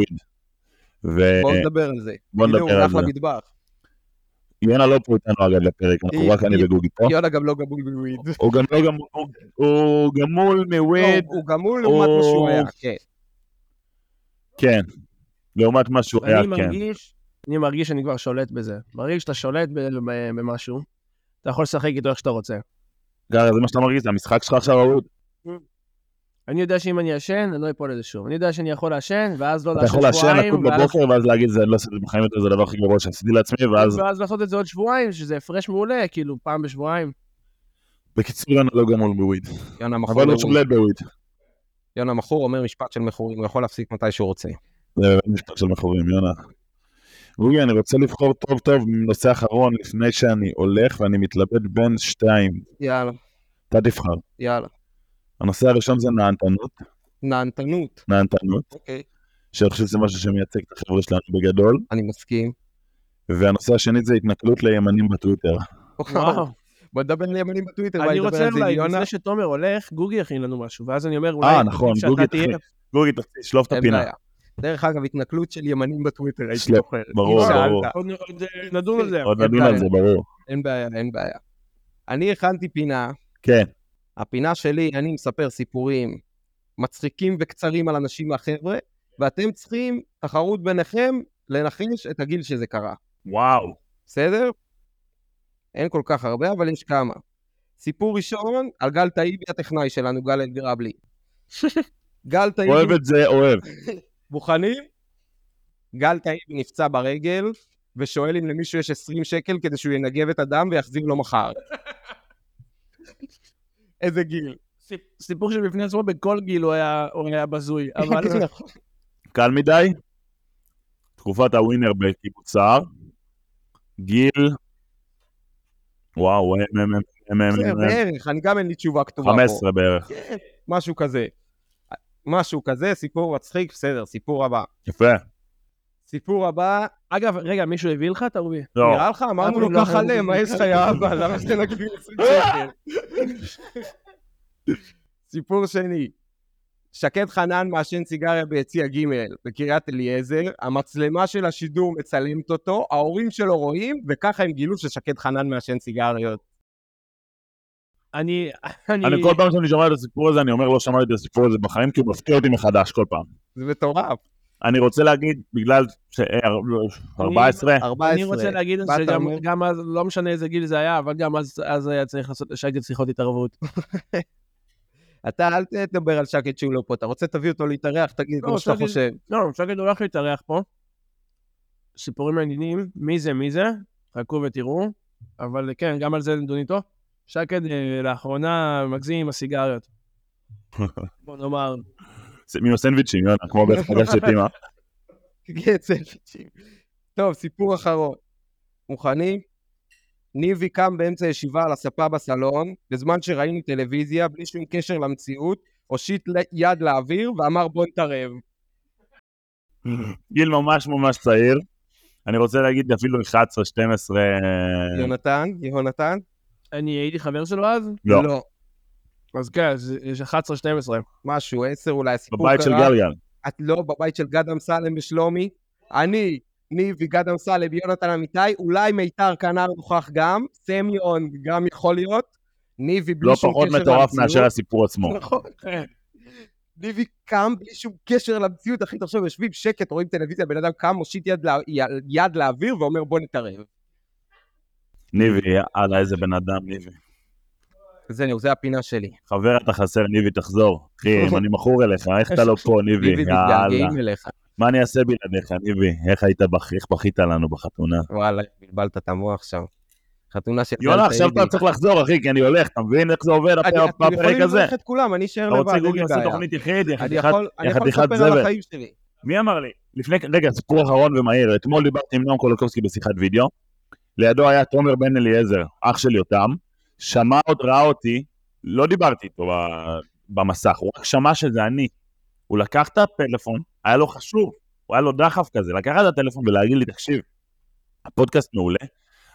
[SPEAKER 5] בואו
[SPEAKER 2] ובוא
[SPEAKER 5] נדבר על זה. הנה,
[SPEAKER 2] אה, נדבר
[SPEAKER 5] הוא
[SPEAKER 2] על
[SPEAKER 5] הלך
[SPEAKER 2] זה. אה?
[SPEAKER 5] למטבח.
[SPEAKER 2] יונה לא פה איתנו אגב לפרק, אנחנו
[SPEAKER 5] היא-
[SPEAKER 2] רק אני
[SPEAKER 5] היא-
[SPEAKER 2] וגוגי פה.
[SPEAKER 5] יונה גם לא גמול בוויד.
[SPEAKER 2] הוא גם לא גמול, הוא- הוא גמול מוויד,
[SPEAKER 5] לא, הוא גמול לעומת מה שהוא היה. כן.
[SPEAKER 2] כן. לעומת מה שהוא היה,
[SPEAKER 1] אני
[SPEAKER 2] כן.
[SPEAKER 1] מרגיש, אני מרגיש שאני כבר שולט בזה. מרגיש שאתה שולט ב- ב- במשהו, אתה יכול לשחק איתו איך שאתה רוצה.
[SPEAKER 2] גר, זה מה שאתה מרגיש, זה המשחק שלך עכשיו אהוד.
[SPEAKER 1] אני יודע שאם אני אעשן, אני לא אפול לזה שוב. אני יודע שאני יכול לעשן, ואז לא
[SPEAKER 2] אתה יכול
[SPEAKER 1] לעשן
[SPEAKER 2] לעשן,
[SPEAKER 1] שבועיים,
[SPEAKER 2] לקום
[SPEAKER 1] ואז-
[SPEAKER 2] בבוקר ואז להגיד, "זה- אני לא עשיתי את זה בחיים יותר, זה הדבר הכי גרוע שעשיתי לעצמי, ואז
[SPEAKER 1] ואז לעשות את זה עוד שבועיים, שזה הפרש מעולה, כאילו, פעם
[SPEAKER 5] *laughs*
[SPEAKER 1] בשבועיים.
[SPEAKER 2] בקיצור, אני לא גמול בוויד.
[SPEAKER 5] יונה מכור
[SPEAKER 2] אבל הוא
[SPEAKER 5] בוויד.
[SPEAKER 2] שולט בוויד.
[SPEAKER 5] יונה מכור אומר משפט של מכורים, הוא יכול להפסיק מתי שהוא רוצה.
[SPEAKER 2] זה באמת משפט של מכורים, יונה. גוגי, אני רוצה לבחור טוב טוב נושא אחרון לפני שאני הולך ואני מתלבט בין שתיים.
[SPEAKER 5] יאללה,
[SPEAKER 2] אתה תבחר.
[SPEAKER 5] יאללה.
[SPEAKER 2] הנושא הראשון זה נהנתנות,
[SPEAKER 5] נהנתנות.
[SPEAKER 2] נהנתנות,
[SPEAKER 5] אוקיי.
[SPEAKER 2] שאני חושב שזה משהו שמייצג את החבר'ה שלנו בגדול,
[SPEAKER 5] אני מסכים.
[SPEAKER 2] והנושא השני זה התנכלות לימנים בטוויטר.
[SPEAKER 1] וואו.
[SPEAKER 5] בוא נדבר על ימנים בטוויטר, בוא
[SPEAKER 1] אני
[SPEAKER 5] נדבר
[SPEAKER 1] רוצה
[SPEAKER 5] על זה עם
[SPEAKER 1] אולי,
[SPEAKER 5] יונה.
[SPEAKER 1] לפני שתומר הולך, גוגי יכין לנו משהו, ואז אני אומר, אולי...
[SPEAKER 2] אה, נכון,
[SPEAKER 1] עדיף
[SPEAKER 2] גוגי
[SPEAKER 1] שאתה תהיה-
[SPEAKER 2] תתחיל. גוגי, תתחיל, שלוף את
[SPEAKER 5] אין
[SPEAKER 2] הפינה.
[SPEAKER 5] בעיה. דרך אגב, התנכלות של ימנים בטוויטר, הייתי
[SPEAKER 2] שלא,
[SPEAKER 5] זוכר.
[SPEAKER 2] ברור,
[SPEAKER 5] אם שאלת,
[SPEAKER 2] ברור.
[SPEAKER 1] עוד- עוד, אה, נדון על זה.
[SPEAKER 2] עוד
[SPEAKER 5] אין
[SPEAKER 2] נדון על
[SPEAKER 5] בעיה.
[SPEAKER 2] זה, ברור.
[SPEAKER 5] אין בעיה, אין בעיה. אני הכנתי פינה,
[SPEAKER 2] כן,
[SPEAKER 5] הפינה שלי, אני מספר סיפורים מצחיקים וקצרים על אנשים מהחבר'ה, ואתם צריכים תחרות ביניכם לנחש את הגיל שזה קרה,
[SPEAKER 2] וואו.
[SPEAKER 5] בסדר? אין כל כך הרבה, אבל יש כמה. סיפור ראשון על גל טאיבי הטכנאי שלנו, גל אלגרבלי. גל
[SPEAKER 2] אוהב
[SPEAKER 5] טאיבי,
[SPEAKER 2] את זה, אוהב.
[SPEAKER 5] מוכנים? גל טאיבי נפצע ברגל, ושואל אם למישהו יש 20 שקל כדי שהוא ינגב את הדם ויחזיר לו מחר. איזה גיל.
[SPEAKER 1] סיפ- *laughs* סיפור שבפני עצמו בכל גיל הוא היה- הוא היה
[SPEAKER 5] *laughs*
[SPEAKER 1] בזוי,
[SPEAKER 5] כן,
[SPEAKER 1] אבל...
[SPEAKER 2] קל מדי. תקופת הווינר בקיבוץ סער. גיל. וואו, הם, הם, הם, הם, הם,
[SPEAKER 5] בסדר,
[SPEAKER 2] הם, הם,
[SPEAKER 5] בערך, אני גם אין לי תשובה כתובה פה.
[SPEAKER 2] 15 בערך.
[SPEAKER 5] משהו כזה. משהו כזה, סיפור מצחיק, בסדר, סיפור הבא.
[SPEAKER 2] יפה.
[SPEAKER 5] סיפור הבא,
[SPEAKER 1] אגב, רגע, מישהו הביא לך את הרובי?
[SPEAKER 2] לא.
[SPEAKER 5] נראה לך? אמרנו לו
[SPEAKER 1] לא,
[SPEAKER 5] ככה
[SPEAKER 1] לא,
[SPEAKER 5] לה, מה יש לך, יא אבא? למה שאתה נגדיר 20 שקל? סיפור שני, שקד חנן מעשן סיגריה ביציע ג' בקריית אליעזר, המצלמה של השידור מצלמת אותו, ההורים שלו רואים, וככה הם גילו ששקד חנן מעשן סיגריות.
[SPEAKER 1] אני... *laughs* אני...
[SPEAKER 2] אני כל פעם שאני שומע את הסיפור הזה, אני אומר, לא שמעתי את הסיפור הזה בחיים, כי הוא מפתיע אותי מחדש כל פעם.
[SPEAKER 5] זה מטורף.
[SPEAKER 2] אני רוצה להגיד, בגלל ש... אה,
[SPEAKER 1] אני-
[SPEAKER 2] 14?
[SPEAKER 5] 14.
[SPEAKER 1] אני רוצה להגיד
[SPEAKER 5] מה אתה
[SPEAKER 1] שגם
[SPEAKER 5] אומר?
[SPEAKER 1] גם אז, לא משנה איזה גיל זה היה, אבל גם אז- אז היה צריך לעשות, שהייתי צריכות התערבות.
[SPEAKER 5] אתה אל תדבר על שקד שהוא לא פה, אתה רוצה תביא אותו להתארח, תגיד
[SPEAKER 1] לא,
[SPEAKER 5] כמו שאתה
[SPEAKER 1] שקד-
[SPEAKER 5] חושב.
[SPEAKER 1] לא, אפשר להגיד, הולך להתארח פה. סיפורים מעניינים, מי זה, מי זה, חכו ותראו. אבל כן, גם על זה נדון איתו. שקד אה, לאחרונה מגזים עם הסיגריות. בוא נאמר,
[SPEAKER 2] מן הסנדוויצ'ים, יונה,
[SPEAKER 5] *laughs*
[SPEAKER 2] כמו בחגג של פימה.
[SPEAKER 5] קצב. טוב, סיפור אחרון. מוכנים? ניבי קם באמצע ישיבה על הספה בסלון, בזמן שראינו טלוויזיה, בלי שום קשר למציאות, הושיט ל- יד לאוויר ואמר בוא נתערב.
[SPEAKER 2] גיל ממש ממש צעיר. אני רוצה להגיד אפילו 11, 12... אה,
[SPEAKER 5] יונתן? יהונתן?
[SPEAKER 1] אני הייתי חבר שלו אז,
[SPEAKER 2] לא,
[SPEAKER 1] אז כן, אז יש 11-12.
[SPEAKER 5] משהו, עשר אולי, הסיפור קרה.
[SPEAKER 2] בבית של גלגל.
[SPEAKER 5] את לא בבית של גד אמסלם ושלומי, אני, ניב וגד אמסלם, יונתן אמיתי, אולי מיתר כנר נוכח גם, סמיון גם יכול להיות, ניבי בלי
[SPEAKER 2] לא
[SPEAKER 5] שום קשר
[SPEAKER 2] פחות
[SPEAKER 5] למציאות.
[SPEAKER 2] מטורף מאשר הסיפור עצמו.
[SPEAKER 5] נכון. ניבי קם בלי שום קשר למציאות, אחי, תחשוב, יושבים שקט, רואים טלוויזיה, בן אדם קם, מושיט יד, לא, יד לאוויר ואומר בוא נתערב.
[SPEAKER 2] ניבי, יאללה, איזה בן אדם, ניבי.
[SPEAKER 5] זהו, זה הפינה שלי.
[SPEAKER 2] חבר, אתה חסר, ניבי, תחזור. אחי, אם אני מכור אליך,
[SPEAKER 5] *laughs*
[SPEAKER 2] איך אתה לא פה, ניבי?
[SPEAKER 5] ניבי
[SPEAKER 2] יאללה.
[SPEAKER 5] מתגעגעים אליך.
[SPEAKER 2] מה אני אעשה בלעדיך, ניבי? איך היית, בח- איך בכית לנו בחתונה?
[SPEAKER 5] וואלה, בלבלת את המוח שם. חתונה של
[SPEAKER 2] יונה, עכשיו אתה צריך לחזור, אחי, כי אני הולך, אתה מבין איך זה עובד הפ-
[SPEAKER 5] אני יכול
[SPEAKER 2] הפרק הזה?
[SPEAKER 5] לברך את כולם, אני אשאר
[SPEAKER 2] אתה
[SPEAKER 5] לבד,
[SPEAKER 2] רוצה
[SPEAKER 5] אין
[SPEAKER 2] גוגל
[SPEAKER 5] לי
[SPEAKER 2] לעשות
[SPEAKER 5] בעיה.
[SPEAKER 2] תוכנית יחיד? יחיד
[SPEAKER 5] אני
[SPEAKER 2] אחד?
[SPEAKER 5] יכול אני
[SPEAKER 2] יחד
[SPEAKER 5] יכול
[SPEAKER 2] אחד
[SPEAKER 5] לספר על
[SPEAKER 2] זבל.
[SPEAKER 5] החיים שלי.
[SPEAKER 2] מי אמר לי? לפני, רגע, סיפור אחרון ומהיר. אתמול דיברתי עם נועם קולקובסקי בשיחת וידאו. לידו היה תומר בן אליעזר, אח של יותם. שמע עוד, ראה אותי, לא דיברתי איתו ב- במסך, הוא רק שמע שזה אני. הוא לקח את הפלאפון, היה לו חשוב, הוא היה לו דחף כזה, לקח את הטלפון ולהגיד לי, תקשיב, הפודקאסט מעולה,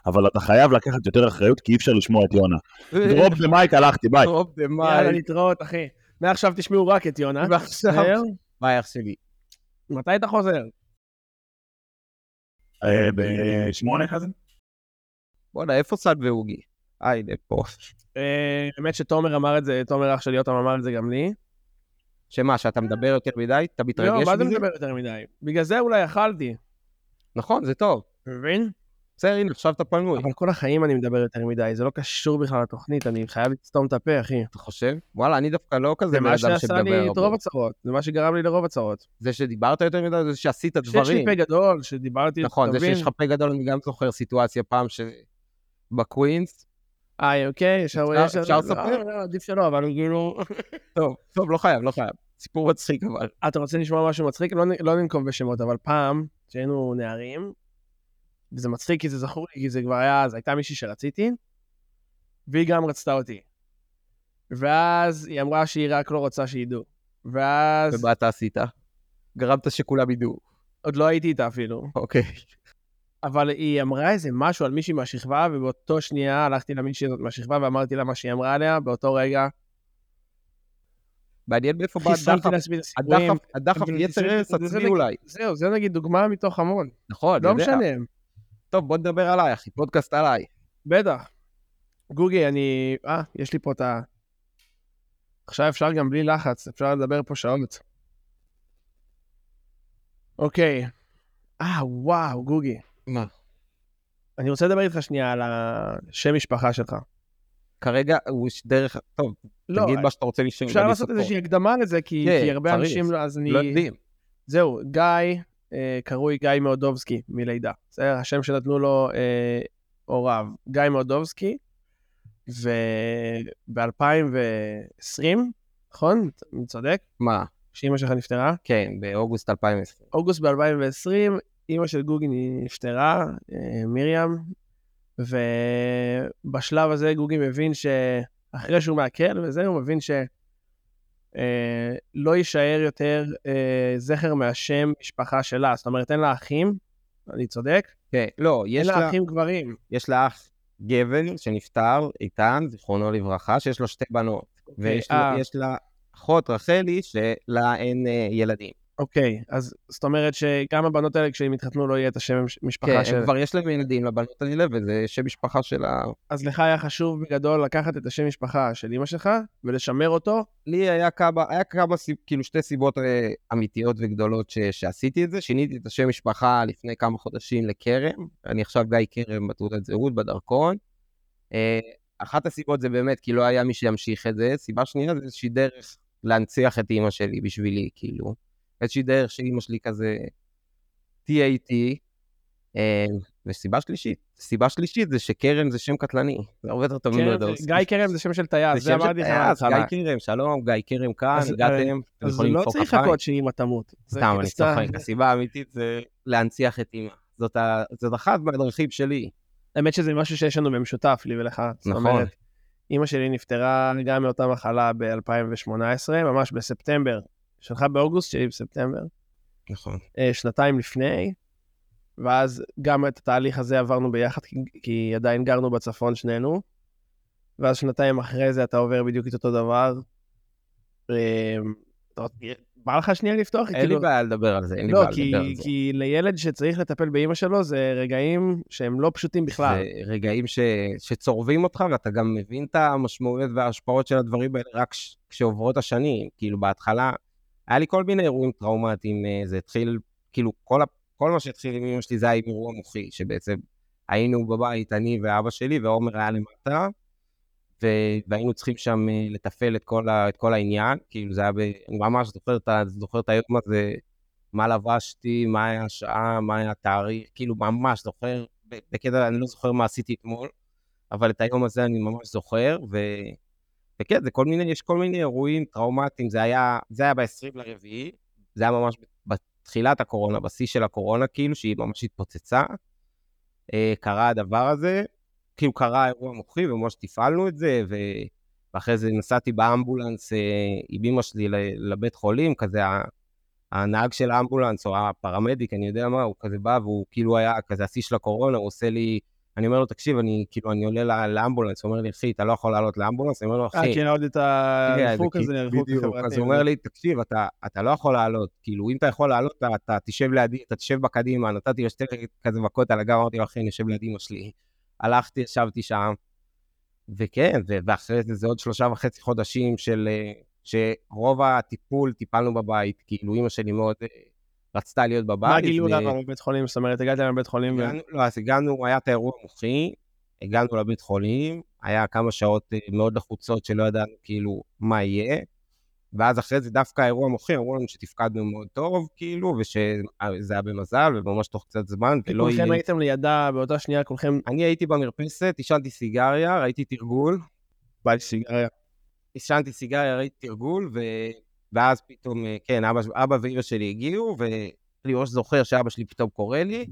[SPEAKER 2] אבל אתה חייב לקחת יותר אחריות, כי אי אפשר לשמוע את יונה.
[SPEAKER 5] *laughs*
[SPEAKER 2] דרופ ומייק, הלכתי, ביי.
[SPEAKER 5] דרופ דה
[SPEAKER 1] יאללה,
[SPEAKER 5] מייל.
[SPEAKER 1] להתראות, אחי. מעכשיו תשמעו רק את
[SPEAKER 5] *laughs*
[SPEAKER 1] יונה.
[SPEAKER 5] ועכשיו,
[SPEAKER 1] זהו?
[SPEAKER 5] ביי אח שלי.
[SPEAKER 1] מתי אתה חוזר?
[SPEAKER 2] אה, בשמונה כזה?
[SPEAKER 5] בואנה, איפה סל ואוגי? אה, הנה פה.
[SPEAKER 1] אה, האמת שתומר אמר את זה, תומר אח של יותם אמר את זה גם לי.
[SPEAKER 5] שמה, שאתה מדבר יותר מדי? אתה מתרגש
[SPEAKER 1] לא,
[SPEAKER 5] מזה?
[SPEAKER 1] מה זה מדבר יותר מדי? בגלל זה אולי אכלתי,
[SPEAKER 5] נכון, זה טוב.
[SPEAKER 1] אתה מבין?
[SPEAKER 5] בסדר, הנה, עכשיו אתה פנוי.
[SPEAKER 1] אבל כל החיים אני מדבר יותר מדי, זה לא קשור בכלל לתוכנית, אני חייב לסתום את הפה, אחי.
[SPEAKER 5] אתה חושב? וואלה, אני דווקא לא כזה
[SPEAKER 1] זה
[SPEAKER 5] בן
[SPEAKER 1] מה
[SPEAKER 5] אדם
[SPEAKER 1] שעשה
[SPEAKER 5] שמדבר
[SPEAKER 1] לי את רוב
[SPEAKER 5] הרבה.
[SPEAKER 1] הצרות, זה מה שגרם לי לרוב הצרות.
[SPEAKER 5] זה שדיברת יותר מדי, זה שעשית
[SPEAKER 1] שיש לי
[SPEAKER 5] דברים.
[SPEAKER 1] פה גדול, שדיברתי,
[SPEAKER 5] נכון,
[SPEAKER 1] אתה
[SPEAKER 5] זה
[SPEAKER 1] מבין?
[SPEAKER 5] שיש לך פה גדול, אני גם זוכר סיטואציה פעם ש... בקווינס.
[SPEAKER 1] אה, אוקיי, אפשר...
[SPEAKER 5] אפשר-
[SPEAKER 1] יש-
[SPEAKER 5] אפשר
[SPEAKER 1] לא,
[SPEAKER 5] לספר?
[SPEAKER 1] לא, עדיף שלא, אבל כאילו... *laughs*
[SPEAKER 5] טוב, טוב, לא חייב, לא חייב. סיפור מצחיק אבל.
[SPEAKER 1] אתה רוצה לשמוע משהו מצחיק? לא נ- לא ננקוב בשמות, אבל פעם, כשהיינו נערים, וזה מצחיק כי זה זכור לי, כי זה כבר היה, אז הייתה מישהי שרציתי, והיא גם רצתה אותי. ואז היא אמרה שהיא רק לא רוצה שידעו. ואז
[SPEAKER 5] ומה אתה עשית? גרמת שכולם ידעו.
[SPEAKER 1] עוד לא הייתי איתה אפילו.
[SPEAKER 5] אוקיי.
[SPEAKER 1] אבל היא אמרה איזה משהו על מישהי מהשכבה, ובאותו שנייה הלכתי למישהי הזאת מהשכבה ואמרתי לה מה שהיא אמרה עליה, באותו רגע.
[SPEAKER 5] מעניין מאיפה בא
[SPEAKER 1] אחי, שמתי
[SPEAKER 5] הדחף.
[SPEAKER 1] לעצמי את הסיפורים.
[SPEAKER 5] הדחף, הדחף
[SPEAKER 1] אבל
[SPEAKER 5] יצר
[SPEAKER 1] זה-
[SPEAKER 5] ארץ
[SPEAKER 1] זה- זה
[SPEAKER 5] עצמי
[SPEAKER 1] נגיד-
[SPEAKER 5] אולי.
[SPEAKER 1] זהו, זה נגיד דוגמה מתוך המון.
[SPEAKER 5] נכון,
[SPEAKER 1] לא
[SPEAKER 5] יודע.
[SPEAKER 1] משנה.
[SPEAKER 5] טוב, בוא נדבר עליי, אחי, פודקאסט עליי.
[SPEAKER 1] בטח. גוגי, אני... אה, יש לי פה את ה... עכשיו אפשר גם בלי לחץ, אפשר לדבר פה שעות. אוקיי. אה, וואו, גוגי.
[SPEAKER 5] מה?
[SPEAKER 1] אני רוצה לדבר איתך שנייה על השם משפחה שלך.
[SPEAKER 5] כרגע הוא יש דרך, טוב,
[SPEAKER 1] לא,
[SPEAKER 5] תגיד מה שאתה רוצה לשאול.
[SPEAKER 1] אפשר
[SPEAKER 5] אני
[SPEAKER 1] לעשות
[SPEAKER 5] סופו.
[SPEAKER 1] איזושהי הקדמה לזה, כי,
[SPEAKER 5] כן,
[SPEAKER 1] כי הרבה
[SPEAKER 5] צריך.
[SPEAKER 1] אנשים לא... אז אני...
[SPEAKER 5] לא יודעים.
[SPEAKER 1] זהו, גיא, אה, קרוי גיא מאודובסקי מלידה. זה השם שנתנו לו אה, הוריו, גיא מאודובסקי, וב-2020, נכון? אני צודק?
[SPEAKER 5] מה?
[SPEAKER 1] שאימא שלך נפטרה.
[SPEAKER 5] כן, באוגוסט 2020.
[SPEAKER 1] אוגוסט ב-2020, אימא של גוגי נפטרה, אה, מרים, ובשלב הזה גוגי מבין ש... אחרי שהוא מעכל וזה, הוא מבין ש... אה, לא יישאר יותר אה, זכר מהשם משפחה שלה. זאת אומרת, אין לה אחים, אני צודק?
[SPEAKER 5] כן, לא,
[SPEAKER 1] אין
[SPEAKER 5] יש
[SPEAKER 1] לה
[SPEAKER 5] לה,
[SPEAKER 1] אחים גברים.
[SPEAKER 5] יש לה אח גבר שנפטר, איתן, זיכרונו לברכה, שיש לו שתי בנות. ויש לה-
[SPEAKER 1] אה.
[SPEAKER 5] יש לה אחות, רחלי, שלה אין אה, ילדים.
[SPEAKER 1] אוקיי, אז זאת אומרת שגם הבנות האלה, כשהם יתחתנו, לא יהיה את השם מש-
[SPEAKER 5] כן,
[SPEAKER 1] משפחה
[SPEAKER 5] הם
[SPEAKER 1] של...
[SPEAKER 5] כבר יש להם ילדים לבנות האלה, וזה שם משפחה שלה.
[SPEAKER 1] אז לך היה חשוב בגדול לקחת את השם משפחה של אימא שלך ולשמר אותו?
[SPEAKER 5] לי היה כמה, היה כמה, סיב- כאילו שתי סיבות אה, אמיתיות וגדולות ש, שעשיתי את זה. שיניתי את השם משפחה לפני כמה חודשים לכרם. אני עכשיו גיא כרם בתעודת זהות, בדרכון. אה, אחת הסיבות זה באמת כי לא היה מי שימשיך את זה. סיבה שנייה זה איזושהי דרך להנציח את אימא שלי בשבילי, כאילו. איזושהי דרך שאימא שלי כזה תהיה איתי. אה, וסיבה שלישית, סיבה שלישית זה שכרם זה שם קטלני. זה הרבה יותר טוב
[SPEAKER 1] קרם-
[SPEAKER 5] מלודוס.
[SPEAKER 1] כן, גיא קרם זה שם של טייס, זה
[SPEAKER 5] שם של
[SPEAKER 1] אמרתי לך
[SPEAKER 5] טייס,
[SPEAKER 1] מההתחלה.
[SPEAKER 5] גיא כרם, שלום, גיא כרם כאן,
[SPEAKER 1] אז-
[SPEAKER 5] הגעתם, אתם
[SPEAKER 1] אז
[SPEAKER 5] יכולים
[SPEAKER 1] לא
[SPEAKER 5] למחוא
[SPEAKER 1] צריך
[SPEAKER 5] כפיים.
[SPEAKER 1] לחכות שאמא תמות. זה
[SPEAKER 5] סתם, אני
[SPEAKER 1] סתם.
[SPEAKER 5] צוחק, הסיבה האמיתית זה להנציח את אימא. זאת ה- זאת אחת מהדרכים שלי.
[SPEAKER 1] האמת שזה משהו שיש לנו במשותף, לי ולך. זאת
[SPEAKER 5] נכון.
[SPEAKER 1] אומרת, אימא שלי נפטרה גם מאותה מחלה ב-2018, ממש בספטמבר. שלך באוגוסט, שלי בספטמבר.
[SPEAKER 5] נכון.
[SPEAKER 1] אה, שנתיים לפני, ואז גם את התהליך הזה עברנו ביחד, כי, כי עדיין גרנו בצפון שנינו, ואז שנתיים אחרי זה אתה עובר בדיוק את אותו דבר. אה, אתה עוד- בא לך שנייה לפתוח?
[SPEAKER 5] אין לי
[SPEAKER 1] כאילו-
[SPEAKER 5] בעיה לדבר על זה, אין לי
[SPEAKER 1] לא,
[SPEAKER 5] בעיה
[SPEAKER 1] כי-
[SPEAKER 5] לדבר על זה.
[SPEAKER 1] כי לילד שצריך לטפל באימא שלו זה רגעים שהם לא פשוטים בכלל.
[SPEAKER 5] זה רגעים ש... שצורבים אותך, ואתה גם מבין את המשמעויות וההשפעות של הדברים האלה רק ש... כשעוברות השנים. כאילו, בהתחלה, היה לי כל מיני אירועים טראומטיים. אה, זה התחיל, כאילו, כל, ה... כל מה שהתחיל עם אמא שלי זה היה עם אירוע מוחי, שבעצם היינו בבית, אני ואבא שלי, ועומר היה למטה, ו... והיינו צריכים שם אה, לתפעל את כל, ה... את כל העניין. כאילו, זה היה ב... אני ממש זוכר את, ה... זוכר את היום הזה. מה לבשתי, מה היה השעה, מה היה התאריך, כאילו ממש זוכר, ב- בקטע אני לא זוכר מה עשיתי אתמול, אבל את היום הזה אני ממש זוכר, ו... וכן, זה כל מיני, יש כל מיני אירועים טראומטיים, זה היה, זה היה ב-20 לרביעי, זה היה ממש בתחילת הקורונה, בשיא של הקורונה, כאילו, שהיא ממש התפוצצה. אה, קרה הדבר הזה, כאילו קרה האירוע המוחי, וממש תפעלנו את זה, ו... ואחרי זה נסעתי באמבולנס אה, עם אמא שלי ל- לבית חולים, כזה ה- הנהג של האמבולנס או הפרמדיק, אני יודע מה, הוא כזה בא והוא כאילו היה כזה השיא של הקורונה, הוא עושה לי, אני אומר לו, תקשיב, אני כאילו, אני עולה לא- לאמבולנס, הוא אומר לי, אחי, אתה לא יכול לעלות לאמבולנס, אני אומר לו, אחי,
[SPEAKER 1] אה, כן, עוד את
[SPEAKER 5] כן,
[SPEAKER 1] הריחוק
[SPEAKER 5] זה
[SPEAKER 1] הזה,
[SPEAKER 5] כי-
[SPEAKER 1] הריחוק
[SPEAKER 5] בדיוק,
[SPEAKER 1] החברתי.
[SPEAKER 5] אז הוא אומר לי, תקשיב, אתה, אתה לא יכול לעלות, כאילו, אם אתה יכול לעלות, אתה, אתה תשב לידי, אתה תשב בקדימה, נתתי לו שתי כזה מכות על הגב, אמרתי לו, אחי, אני יושב לידי אמא שלי. הלכתי, ישבתי שם, וכן, ו- ואחרי זה, זה עוד שלושה וחצי חודשים של... אה, שרוב הטיפול, טיפלנו בבית, כאילו, אמא שלי מאוד אה, רצתה להיות בבית.
[SPEAKER 1] מה גילו
[SPEAKER 5] ו-
[SPEAKER 1] לך בבית חולים? זאת אומרת, הגעתם לבית חולים ו...
[SPEAKER 5] הגענו, לא, אז הגענו, היה את האירוע המוחי, הגענו לבית חולים, היה כמה שעות אה, מאוד לחוצות שלא ידענו כאילו מה יהיה, ואז אחרי זה דווקא האירוע המוחי, אמרו לנו שתפקדנו מאוד טוב, כאילו, ושזה היה במזל, וממש תוך קצת זמן, ולא לא יהיה...
[SPEAKER 1] כולכם הייתם לידה באותה שנייה, כולכם...
[SPEAKER 5] אני הייתי במרפסת, עישנתי סיגריה, ראיתי תרגול,
[SPEAKER 1] בא לי סיגריה.
[SPEAKER 5] עישנתי סיגריה, ראיתי תרגול, ו... ואז פתאום, אה, כן, אבא, אבא ואימא שלי הגיעו, ואני ממש זוכר שאבא שלי פתאום קורא לי,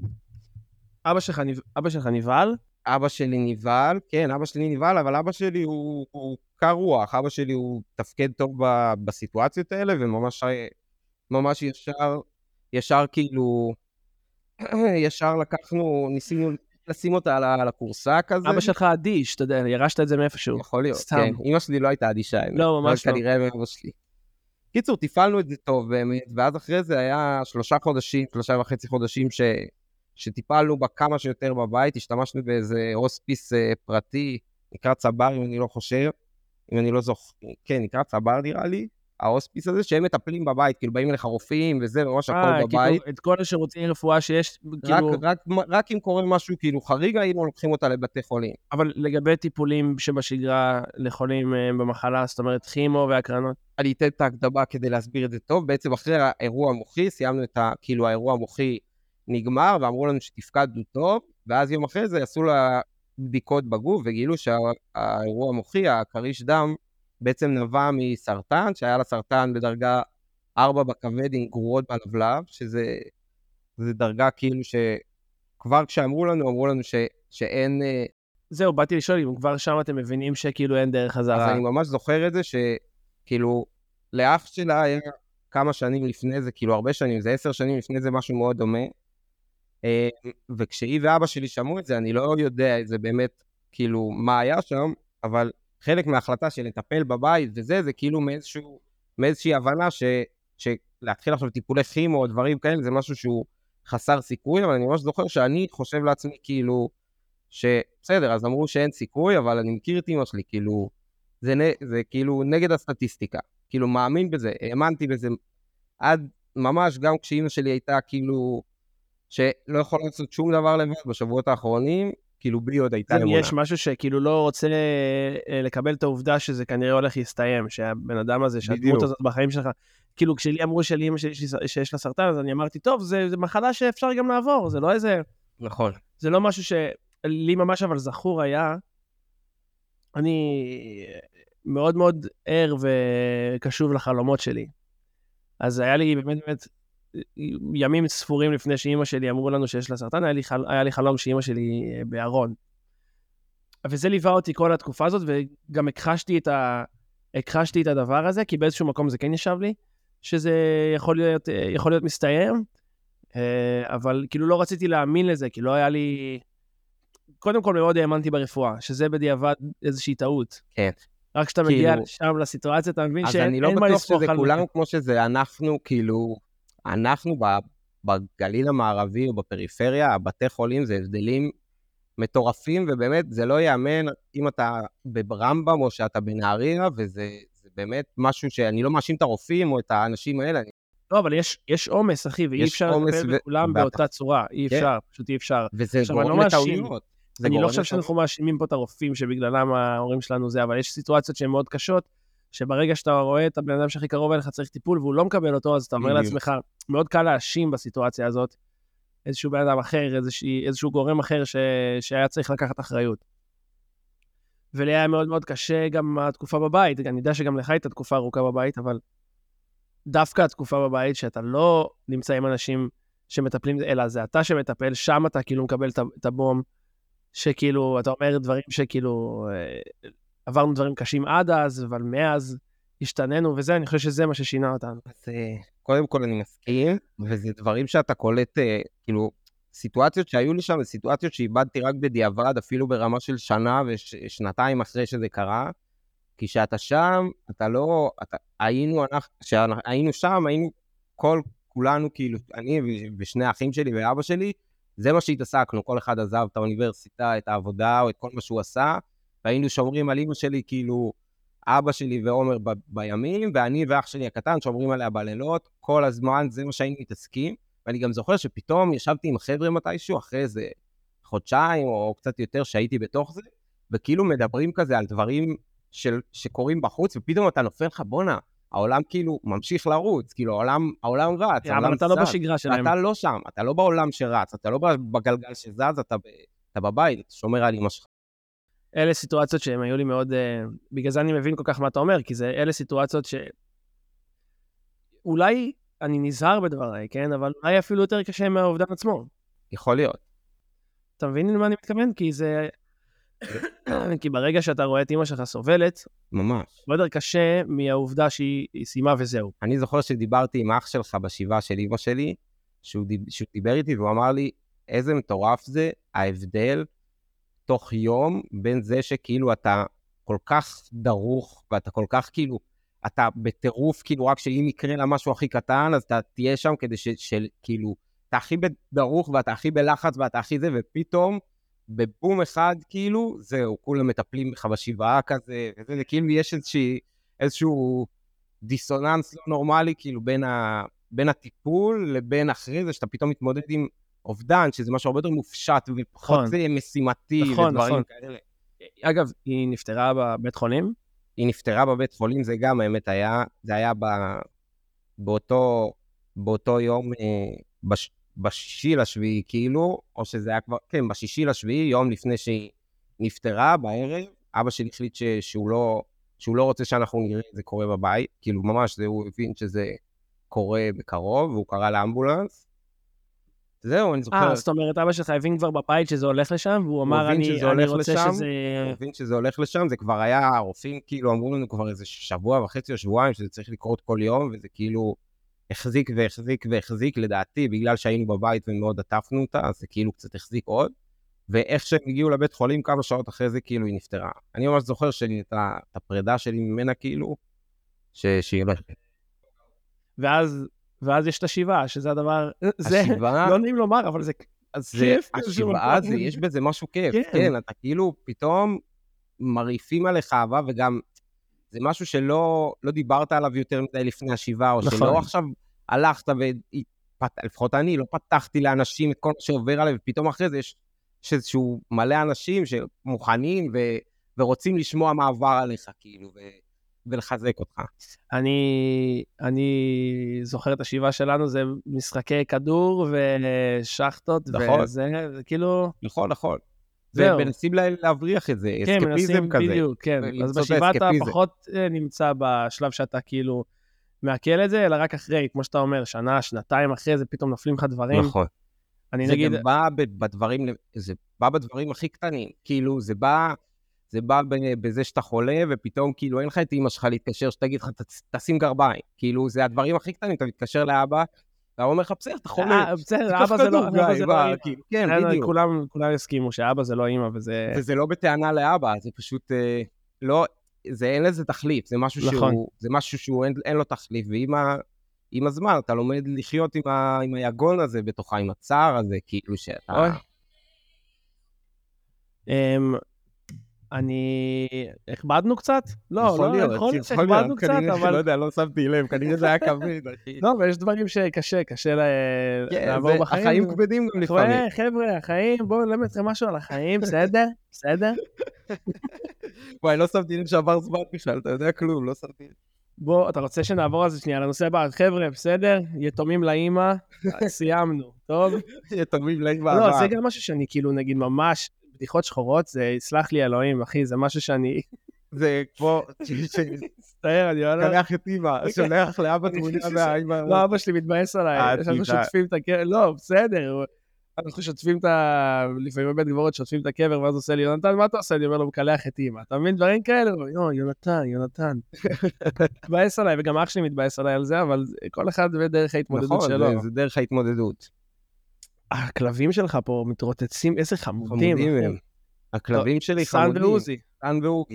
[SPEAKER 1] אבא שלך נב- אבא שלך נבהל?
[SPEAKER 5] אבא שלי נבהל, כן, אבא שלי נבהל, אבל אבא שלי הוא, הוא קר רוח, אבא שלי הוא תפקד טוב ב, בסיטואציות האלה, וממש ממש ישר, ישר כאילו, *clears throat* ישר לקחנו, ניסינו לשים אותה על, ה- על הכורסה כזה.
[SPEAKER 1] אבא שלך אדיש, אתה יודע, ירשת את זה מאיפשהו.
[SPEAKER 5] יכול להיות,
[SPEAKER 1] סתם.
[SPEAKER 5] סתם. כן. אמא שלי לא הייתה אדישה, האמת.
[SPEAKER 1] לא, ממש
[SPEAKER 5] אבל
[SPEAKER 1] לא.
[SPEAKER 5] כנראה מאבא שלי. קיצור, תפעלנו את זה טוב באמת, ואז אחרי זה היה שלושה חודשים, שלושה וחצי חודשים ש... שטיפלנו בה כמה שיותר בבית, השתמשנו באיזה הוספיס אה, פרטי, נקרא צבר, אם אני לא חושב, אם אני לא זוכר, כן, נקרא צבר נראה לי, ההוספיס הזה, שהם מטפלים בבית, כאילו באים אליך רופאים וזה, ממש
[SPEAKER 1] אה,
[SPEAKER 5] הכל
[SPEAKER 1] כאילו,
[SPEAKER 5] בבית.
[SPEAKER 1] את כל השירותי רפואה שיש,
[SPEAKER 5] רק,
[SPEAKER 1] כאילו...
[SPEAKER 5] רק, רק אם קורה משהו כאילו חריג, היינו לוקחים אותה לבתי חולים.
[SPEAKER 1] אבל לגבי טיפולים שבשגרה לחולים אה, במחלה, זאת אומרת כימו והקרנות,
[SPEAKER 5] אני אתן את ההקדמה כדי להסביר את זה טוב. בעצם אחרי האירוע המוחי, סיימנו את ה... כאילו האירוע המוחי נגמר, ואמרו לנו שתפקדנו טוב, ואז יום אחרי זה עשו לה בדיקות בגוף, וגילו שהאירוע המוחי, הכריש דם, בעצם נבע מסרטן, שהיה לה סרטן בדרגה 4 בכבד עם גרורות בלבלב, שזה זה דרגה כאילו שכבר כשאמרו לנו, אמרו לנו ש... שאין... אה,
[SPEAKER 1] זהו, באתי לשאול אם כבר שם אתם מבינים שכאילו אין דרך
[SPEAKER 5] אז
[SPEAKER 1] חזרה.
[SPEAKER 5] אני ממש זוכר את זה שכאילו, לאח שלה היה כמה שנים לפני זה, כאילו הרבה שנים, זה עשר שנים לפני זה משהו מאוד דומה. אה, וכשהיא ואבא שלי שמעו את זה, אני לא יודע את זה באמת, כאילו, מה היה שם, אבל חלק מההחלטה של לטפל בבית וזה, זה כאילו מאיזשהו, מאיזושהי הבנה ש, שלהתחיל עכשיו טיפולי כימו או דברים כאלה, זה משהו שהוא חסר סיכוי, אבל אני ממש זוכר שאני חושב לעצמי, כאילו, שבסדר, אז אמרו שאין סיכוי, אבל אני מכיר את אמא שלי, כאילו, זה, נ- זה כאילו נגד הסטטיסטיקה. כאילו, מאמין בזה, האמנתי בזה עד ממש גם כשאימא שלי הייתה כאילו, שלא יכולה לעשות שום דבר לבד בשבועות האחרונים, כאילו בי עוד הייתה
[SPEAKER 1] אם
[SPEAKER 5] אמונה.
[SPEAKER 1] יש משהו שכאילו לא רוצה אה, לקבל את העובדה שזה כנראה הולך להסתיים, שהבן אדם הזה, שהדמות
[SPEAKER 5] בדיוק.
[SPEAKER 1] הזאת בחיים שלך, כאילו כשלי אמרו שלאמא שלי יש לי- שיש לה סרטן, אז אני אמרתי, טוב, זה, זה מחלה שאפשר גם לעבור, זה לא איזה...
[SPEAKER 5] נכון.
[SPEAKER 1] זה לא משהו ש... לי ממש אבל זכור היה, אני מאוד מאוד ער וקשוב לחלומות שלי. אז היה לי באמת באמת ימים ספורים לפני שאימא שלי אמרו לנו שיש לה סרטן, היה לי, חל... היה לי חלום שאימא שלי אה, בארון. וזה ליווה אותי כל התקופה הזאת, וגם הכחשתי את, ה... הכחשתי את הדבר הזה, כי באיזשהו מקום זה כן ישב לי, שזה יכול להיות, אה, יכול להיות מסתיים, אה, אבל כאילו לא רציתי להאמין לזה, כי לא היה לי... קודם כל מאוד האמנתי ברפואה, שזה בדיעבד איזושהי טעות. רק כשאתה מגיע
[SPEAKER 5] כן. כאילו-
[SPEAKER 1] לשם לסיטואציה, אתה מבין
[SPEAKER 5] אז
[SPEAKER 1] שאין
[SPEAKER 5] אני לא
[SPEAKER 1] אין מה
[SPEAKER 5] בטוח
[SPEAKER 1] לסמוך
[SPEAKER 5] שזה
[SPEAKER 1] על...
[SPEAKER 5] כולנו כמו שזה אנחנו, כאילו, אנחנו ב- בגליל המערבי או בפריפריה, הבתי חולים זה הבדלים מטורפים, ובאמת, זה לא ייאמן אם אתה ברמב"ם או שאתה בנהריה, וזה זה באמת משהו שאני לא מאשים את הרופאים או את האנשים האלה, אני-
[SPEAKER 1] לא, אבל יש- יש עומס, אחי, ואי
[SPEAKER 5] יש
[SPEAKER 1] אפשר
[SPEAKER 5] עומס
[SPEAKER 1] לטפל
[SPEAKER 5] ו-
[SPEAKER 1] בכולם
[SPEAKER 5] בטח.
[SPEAKER 1] באותה צורה. אי
[SPEAKER 5] כן.
[SPEAKER 1] אפשר, פשוט אי אפשר.
[SPEAKER 5] וזה
[SPEAKER 1] עכשיו, אני
[SPEAKER 5] גורם
[SPEAKER 1] לא מאשים.
[SPEAKER 5] לטעויות. זה
[SPEAKER 1] אני לא
[SPEAKER 5] גורם
[SPEAKER 1] חושב
[SPEAKER 5] לטעויות.
[SPEAKER 1] שאנחנו מאשימים פה את הרופאים שבגללם ההורים שלנו זה, אבל יש סיטואציות שהן מאוד קשות, שברגע שאתה רואה את הבן אדם שהכי קרוב אליך צריך טיפול והוא לא מקבל אותו, אז אתה אומר
[SPEAKER 5] בדיוק.
[SPEAKER 1] לעצמך, מאוד קל להאשים בסיטואציה הזאת איזשהו בן אדם אחר, איזושהי, איזשהו גורם אחר ש, שהיה צריך לקחת אחריות. ולי היה מאוד מאוד קשה גם התקופה בבית, אני יודע שגם לך הייתה תקופה ארוכה בבית, אבל דווקא התקופה בבית, שאתה לא נמצא עם אנשים שמטפלים, אלא זה אתה שמטפל, שם אתה כאילו מקבל את ה- את הבום, שכאילו, אתה אומר דברים שכאילו, אה, עברנו דברים קשים עד אז, אבל מאז השתננו וזה, אני חושב שזה מה ששינה אותנו.
[SPEAKER 5] אז אה, קודם כל אני מסכים, וזה דברים שאתה קולט, אה, כאילו, סיטואציות שהיו לי שם, זה סיטואציות שאיבדתי רק בדיעבד, אפילו ברמה של שנה ושנתיים אחרי שזה קרה. כי כשאתה שם, אתה לא... אתה, היינו, אנחנו, כשהיינו שם, היינו כל כולנו, כאילו, אני ו- ושני האחים שלי ואבא שלי, זה מה שהתעסקנו, כל אחד עזב את האוניברסיטה, את העבודה, או את כל מה שהוא עשה, והיינו שומרים על אימא שלי, כאילו, אבא שלי ועומר ב- בימים, ואני ואח שלי הקטן שומרים עליה בלילות, כל הזמן, זה מה שהיינו מתעסקים. ואני גם זוכר שפתאום ישבתי עם חבר'ה מתישהו, אחרי איזה חודשיים או קצת יותר שהייתי בתוך זה, וכאילו מדברים כזה על דברים של, שקורים בחוץ, ופתאום אתה נופל לך, בואנה, העולם כאילו ממשיך לרוץ, כאילו העולם, העולם רץ, העולם
[SPEAKER 1] אבל אתה לא
[SPEAKER 5] זז."
[SPEAKER 1] בשגרה שלהם.
[SPEAKER 5] אתה לא שם, אתה לא בעולם שרץ, אתה לא בגלגל שזז, אתה, ב- אתה בבית, אתה שומר על אמא שלך. לא-
[SPEAKER 1] אלה סיטואציות שהן היו לי מאוד... אה, בגלל זה אני מבין כל כך מה אתה אומר, כי זה אלה סיטואציות ש... אולי אני נזהר בדבריי, כן? אבל אולי אפילו יותר קשה מהאובדן עצמו.
[SPEAKER 5] יכול להיות.
[SPEAKER 1] אתה מבין למה אני מתכוון? כי זה... *coughs* כי ברגע שאתה רואה את אימא שלך סובלת,
[SPEAKER 5] ממש.
[SPEAKER 1] הרבה יותר קשה מהעובדה שהיא היא סיימה וזהו.
[SPEAKER 5] אני זוכר שדיברתי עם אח שלך בשבעה של אמא שלי, שהוא, דיב, שהוא דיבר איתי והוא אמר לי, איזה מטורף זה ההבדל תוך יום בין זה שכאילו אתה כל כך דרוך ואתה כל כך כאילו, אתה בטירוף, כאילו רק שאם יקרה לה משהו הכי קטן, אז אתה תהיה שם כדי ש... של, כאילו, אתה הכי דרוך ואתה הכי בלחץ ואתה הכי זה, ופתאום בבום אחד כאילו, זהו, כולם מטפלים בך בשבעה כזה, וזה זה כאילו יש איזושהי, איזשהו דיסוננס לא נורמלי כאילו בין, ה, בין הטיפול לבין אחרי זה שאתה פתאום מתמודד עם אובדן, שזה משהו הרבה יותר מופשט ופחות
[SPEAKER 1] נכון.
[SPEAKER 5] זה משימתי
[SPEAKER 1] נכון,
[SPEAKER 5] ודברים
[SPEAKER 1] נכון.
[SPEAKER 5] כאלה.
[SPEAKER 1] אגב, היא נפטרה בבית חולים,
[SPEAKER 5] היא נפטרה בבית חולים, זה גם האמת היה, זה היה ב, באותו, באותו יום, אה, בש, בשישי לשביעי כאילו, או שזה היה כבר, כן, בשישי לשביעי, יום לפני שהיא נפטרה בערב, אבא שלי החליט ש, שהוא, לא, שהוא לא רוצה שאנחנו נראה את זה קורה בבית, כאילו ממש, זה, הוא הבין שזה קורה בקרוב, והוא קרא לאמבולנס. זהו, אני זוכר,
[SPEAKER 1] אה, זאת אומרת, אבא שלך הבין כבר בבית שזה הולך לשם, והוא אמר,
[SPEAKER 5] הבין
[SPEAKER 1] אני
[SPEAKER 5] שזה
[SPEAKER 1] אני
[SPEAKER 5] הולך
[SPEAKER 1] רוצה
[SPEAKER 5] לשם,
[SPEAKER 1] שזה...
[SPEAKER 5] הוא הבין שזה הולך לשם, זה כבר היה, הרופאים כאילו אמרו לנו כבר איזה שבוע וחצי או שבועיים שזה צריך לקרות כל יום, וזה כאילו החזיק והחזיק והחזיק, לדעתי, בגלל שהיינו בבית ומאוד עטפנו אותה, אז זה כאילו קצת החזיק עוד. ואיך שהם הגיעו לבית חולים, כמה שעות אחרי זה כאילו היא נפטרה. אני ממש זוכר שאני- את ה- את הפרידה שלי ממנה כאילו, ש- שהיא הולכת.
[SPEAKER 1] ואז, ואז יש את השבעה, שזה הדבר... זה,
[SPEAKER 5] השבעה-
[SPEAKER 1] לא נעים לומר, אבל זה אז
[SPEAKER 5] זה,
[SPEAKER 1] כיף. באיזשהו
[SPEAKER 5] השבעה
[SPEAKER 1] מקום.
[SPEAKER 5] זה, יש בזה משהו כיף.
[SPEAKER 1] כן.
[SPEAKER 5] כן. כן, אתה כאילו פתאום מרעיפים עליך אהבה, וגם זה משהו שלא לא דיברת עליו יותר מדי לפני השבעה, או
[SPEAKER 1] נכון.
[SPEAKER 5] שלא עכשיו הלכת ו... לפחות אני, לא פתחתי לאנשים את כל מה שעובר עליהם, ופתאום אחרי זה יש, יש איזשהו מלא אנשים שמוכנים ו, ורוצים לשמוע מה עבר עליך, כאילו, ו, ולחזק אותך.
[SPEAKER 1] אני, אני זוכר את השבעה שלנו, זה משחקי כדור ושחטות
[SPEAKER 5] נכון.
[SPEAKER 1] וזה, זה כאילו...
[SPEAKER 5] נכון, נכון.
[SPEAKER 1] זהו.
[SPEAKER 5] ומנסים לה- להבריח את זה,
[SPEAKER 1] כן,
[SPEAKER 5] אסקפיזם
[SPEAKER 1] מנסים
[SPEAKER 5] כזה.
[SPEAKER 1] בדיוק, כן. אז
[SPEAKER 5] למצוא את
[SPEAKER 1] בשבעה אתה
[SPEAKER 5] האסקפיזם.
[SPEAKER 1] פחות אה, נמצא בשלב שאתה כאילו מעכל את זה, אלא רק אחרי, כמו שאתה אומר, שנה, שנתיים אחרי זה פתאום נופלים לך דברים.
[SPEAKER 5] נכון.
[SPEAKER 1] אני
[SPEAKER 5] זה
[SPEAKER 1] נגיד,
[SPEAKER 5] גם בא ב- בדברים, זה בא בדברים הכי קטנים, כאילו זה בא, זה בא ב- בזה שאתה חולה ופתאום כאילו אין לך את אמא שלך להתקשר שתגיד לך "תצ- תשים גרביים, כאילו זה הדברים הכי קטנים, אתה מתקשר לאבא, והוא אומר לך בסדר אתה חולה,
[SPEAKER 1] אה, בסדר,
[SPEAKER 5] תיקח
[SPEAKER 1] אבא זה לא
[SPEAKER 5] כדור,
[SPEAKER 1] אבא
[SPEAKER 5] גיא,
[SPEAKER 1] זה
[SPEAKER 5] בא",
[SPEAKER 1] לא אימא.
[SPEAKER 5] כאילו, כן
[SPEAKER 1] כן,
[SPEAKER 5] בדיוק,
[SPEAKER 1] כולם כולם יסכימו שאבא זה לא אימא וזה...
[SPEAKER 5] וזה לא בטענה לאבא, זה פשוט אה, לא, זה אין לזה תחליף, זה משהו
[SPEAKER 1] נכון.
[SPEAKER 5] שהוא, זה משהו שהוא אין, אין לו תחליף, ועם ה, עם הזמן אתה לומד לחיות עם, ה, עם היגון הזה בתוכה, עם הצער הזה, כאילו שאתה...
[SPEAKER 1] אוי. אמ, אני... הכבדנו קצת? לא,
[SPEAKER 5] יכול
[SPEAKER 1] לא,
[SPEAKER 5] להיות,
[SPEAKER 1] יכול להיות
[SPEAKER 5] יכול להיות,
[SPEAKER 1] שהכבדנו קצת,
[SPEAKER 5] כנראה,
[SPEAKER 1] אבל...
[SPEAKER 5] לא יודע, לא שמתי לב, כנראה זה היה כבד, אחי.
[SPEAKER 1] *laughs* לא, אבל יש דברים שקשה, קשה לה-
[SPEAKER 5] כן,
[SPEAKER 1] לעבור
[SPEAKER 5] זה-
[SPEAKER 1] בחיים.
[SPEAKER 5] החיים כבדים גם לפעמים.
[SPEAKER 1] חבר'ה, חבר'ה, החיים, בואו נלמד אתכם משהו על החיים,
[SPEAKER 5] *laughs*
[SPEAKER 1] בסדר? בסדר?
[SPEAKER 5] וואי, לא שמתי לב שעבר זמן בכלל, אתה יודע כלום, לא שמתי לב. *laughs*
[SPEAKER 1] בוא, אתה רוצה שנעבור על זה שנייה לנושא הבא? אז חבר'ה, בסדר? יתומים לאימא, סיימנו,
[SPEAKER 5] *laughs*
[SPEAKER 1] טוב?
[SPEAKER 5] יתומים להם בעבר.
[SPEAKER 1] לא, זה גם משהו שאני כאילו, נגיד, ממש, בדיחות שחורות, זה, סלח לי אלוהים, אחי, זה משהו שאני... *laughs*
[SPEAKER 5] זה כמו...
[SPEAKER 1] מצטער, אני *laughs* לא... יודע-
[SPEAKER 5] קלח את
[SPEAKER 1] *laughs*
[SPEAKER 5] אימא, שולח לאבא תמונה מהאימא.
[SPEAKER 1] לא, אבא שלי מתבאס
[SPEAKER 5] אה,
[SPEAKER 1] עליי, אנחנו
[SPEAKER 5] תדע.
[SPEAKER 1] שוטפים את הקבר, לא, בסדר. הוא- אנחנו שוטפים את ה... לפעמים בבית גברות שוטפים את הקבר, ואז הוא עושה לי, יונתן, מה אתה עושה? אני אומר לו, מקלח את אימא. אתה מבין דברים כאלה? הוא אומר, "יו, יונתן,
[SPEAKER 5] *laughs*
[SPEAKER 1] יונתן. מתבאס עליי, וגם אח שלי מתבאס עליי על זה, אבל כל אחד ודרך ההתמודדות
[SPEAKER 5] נכון,
[SPEAKER 1] שלו.
[SPEAKER 5] זה- זה דרך ההתמודדות.
[SPEAKER 1] הכלבים שלך פה מתרוצצים, איזה חמודים.
[SPEAKER 5] חמודים
[SPEAKER 1] אחי.
[SPEAKER 5] הם. הכלבים שלי
[SPEAKER 1] סאן
[SPEAKER 5] חמודים.
[SPEAKER 1] ועוזי.
[SPEAKER 5] סאן ועוזי.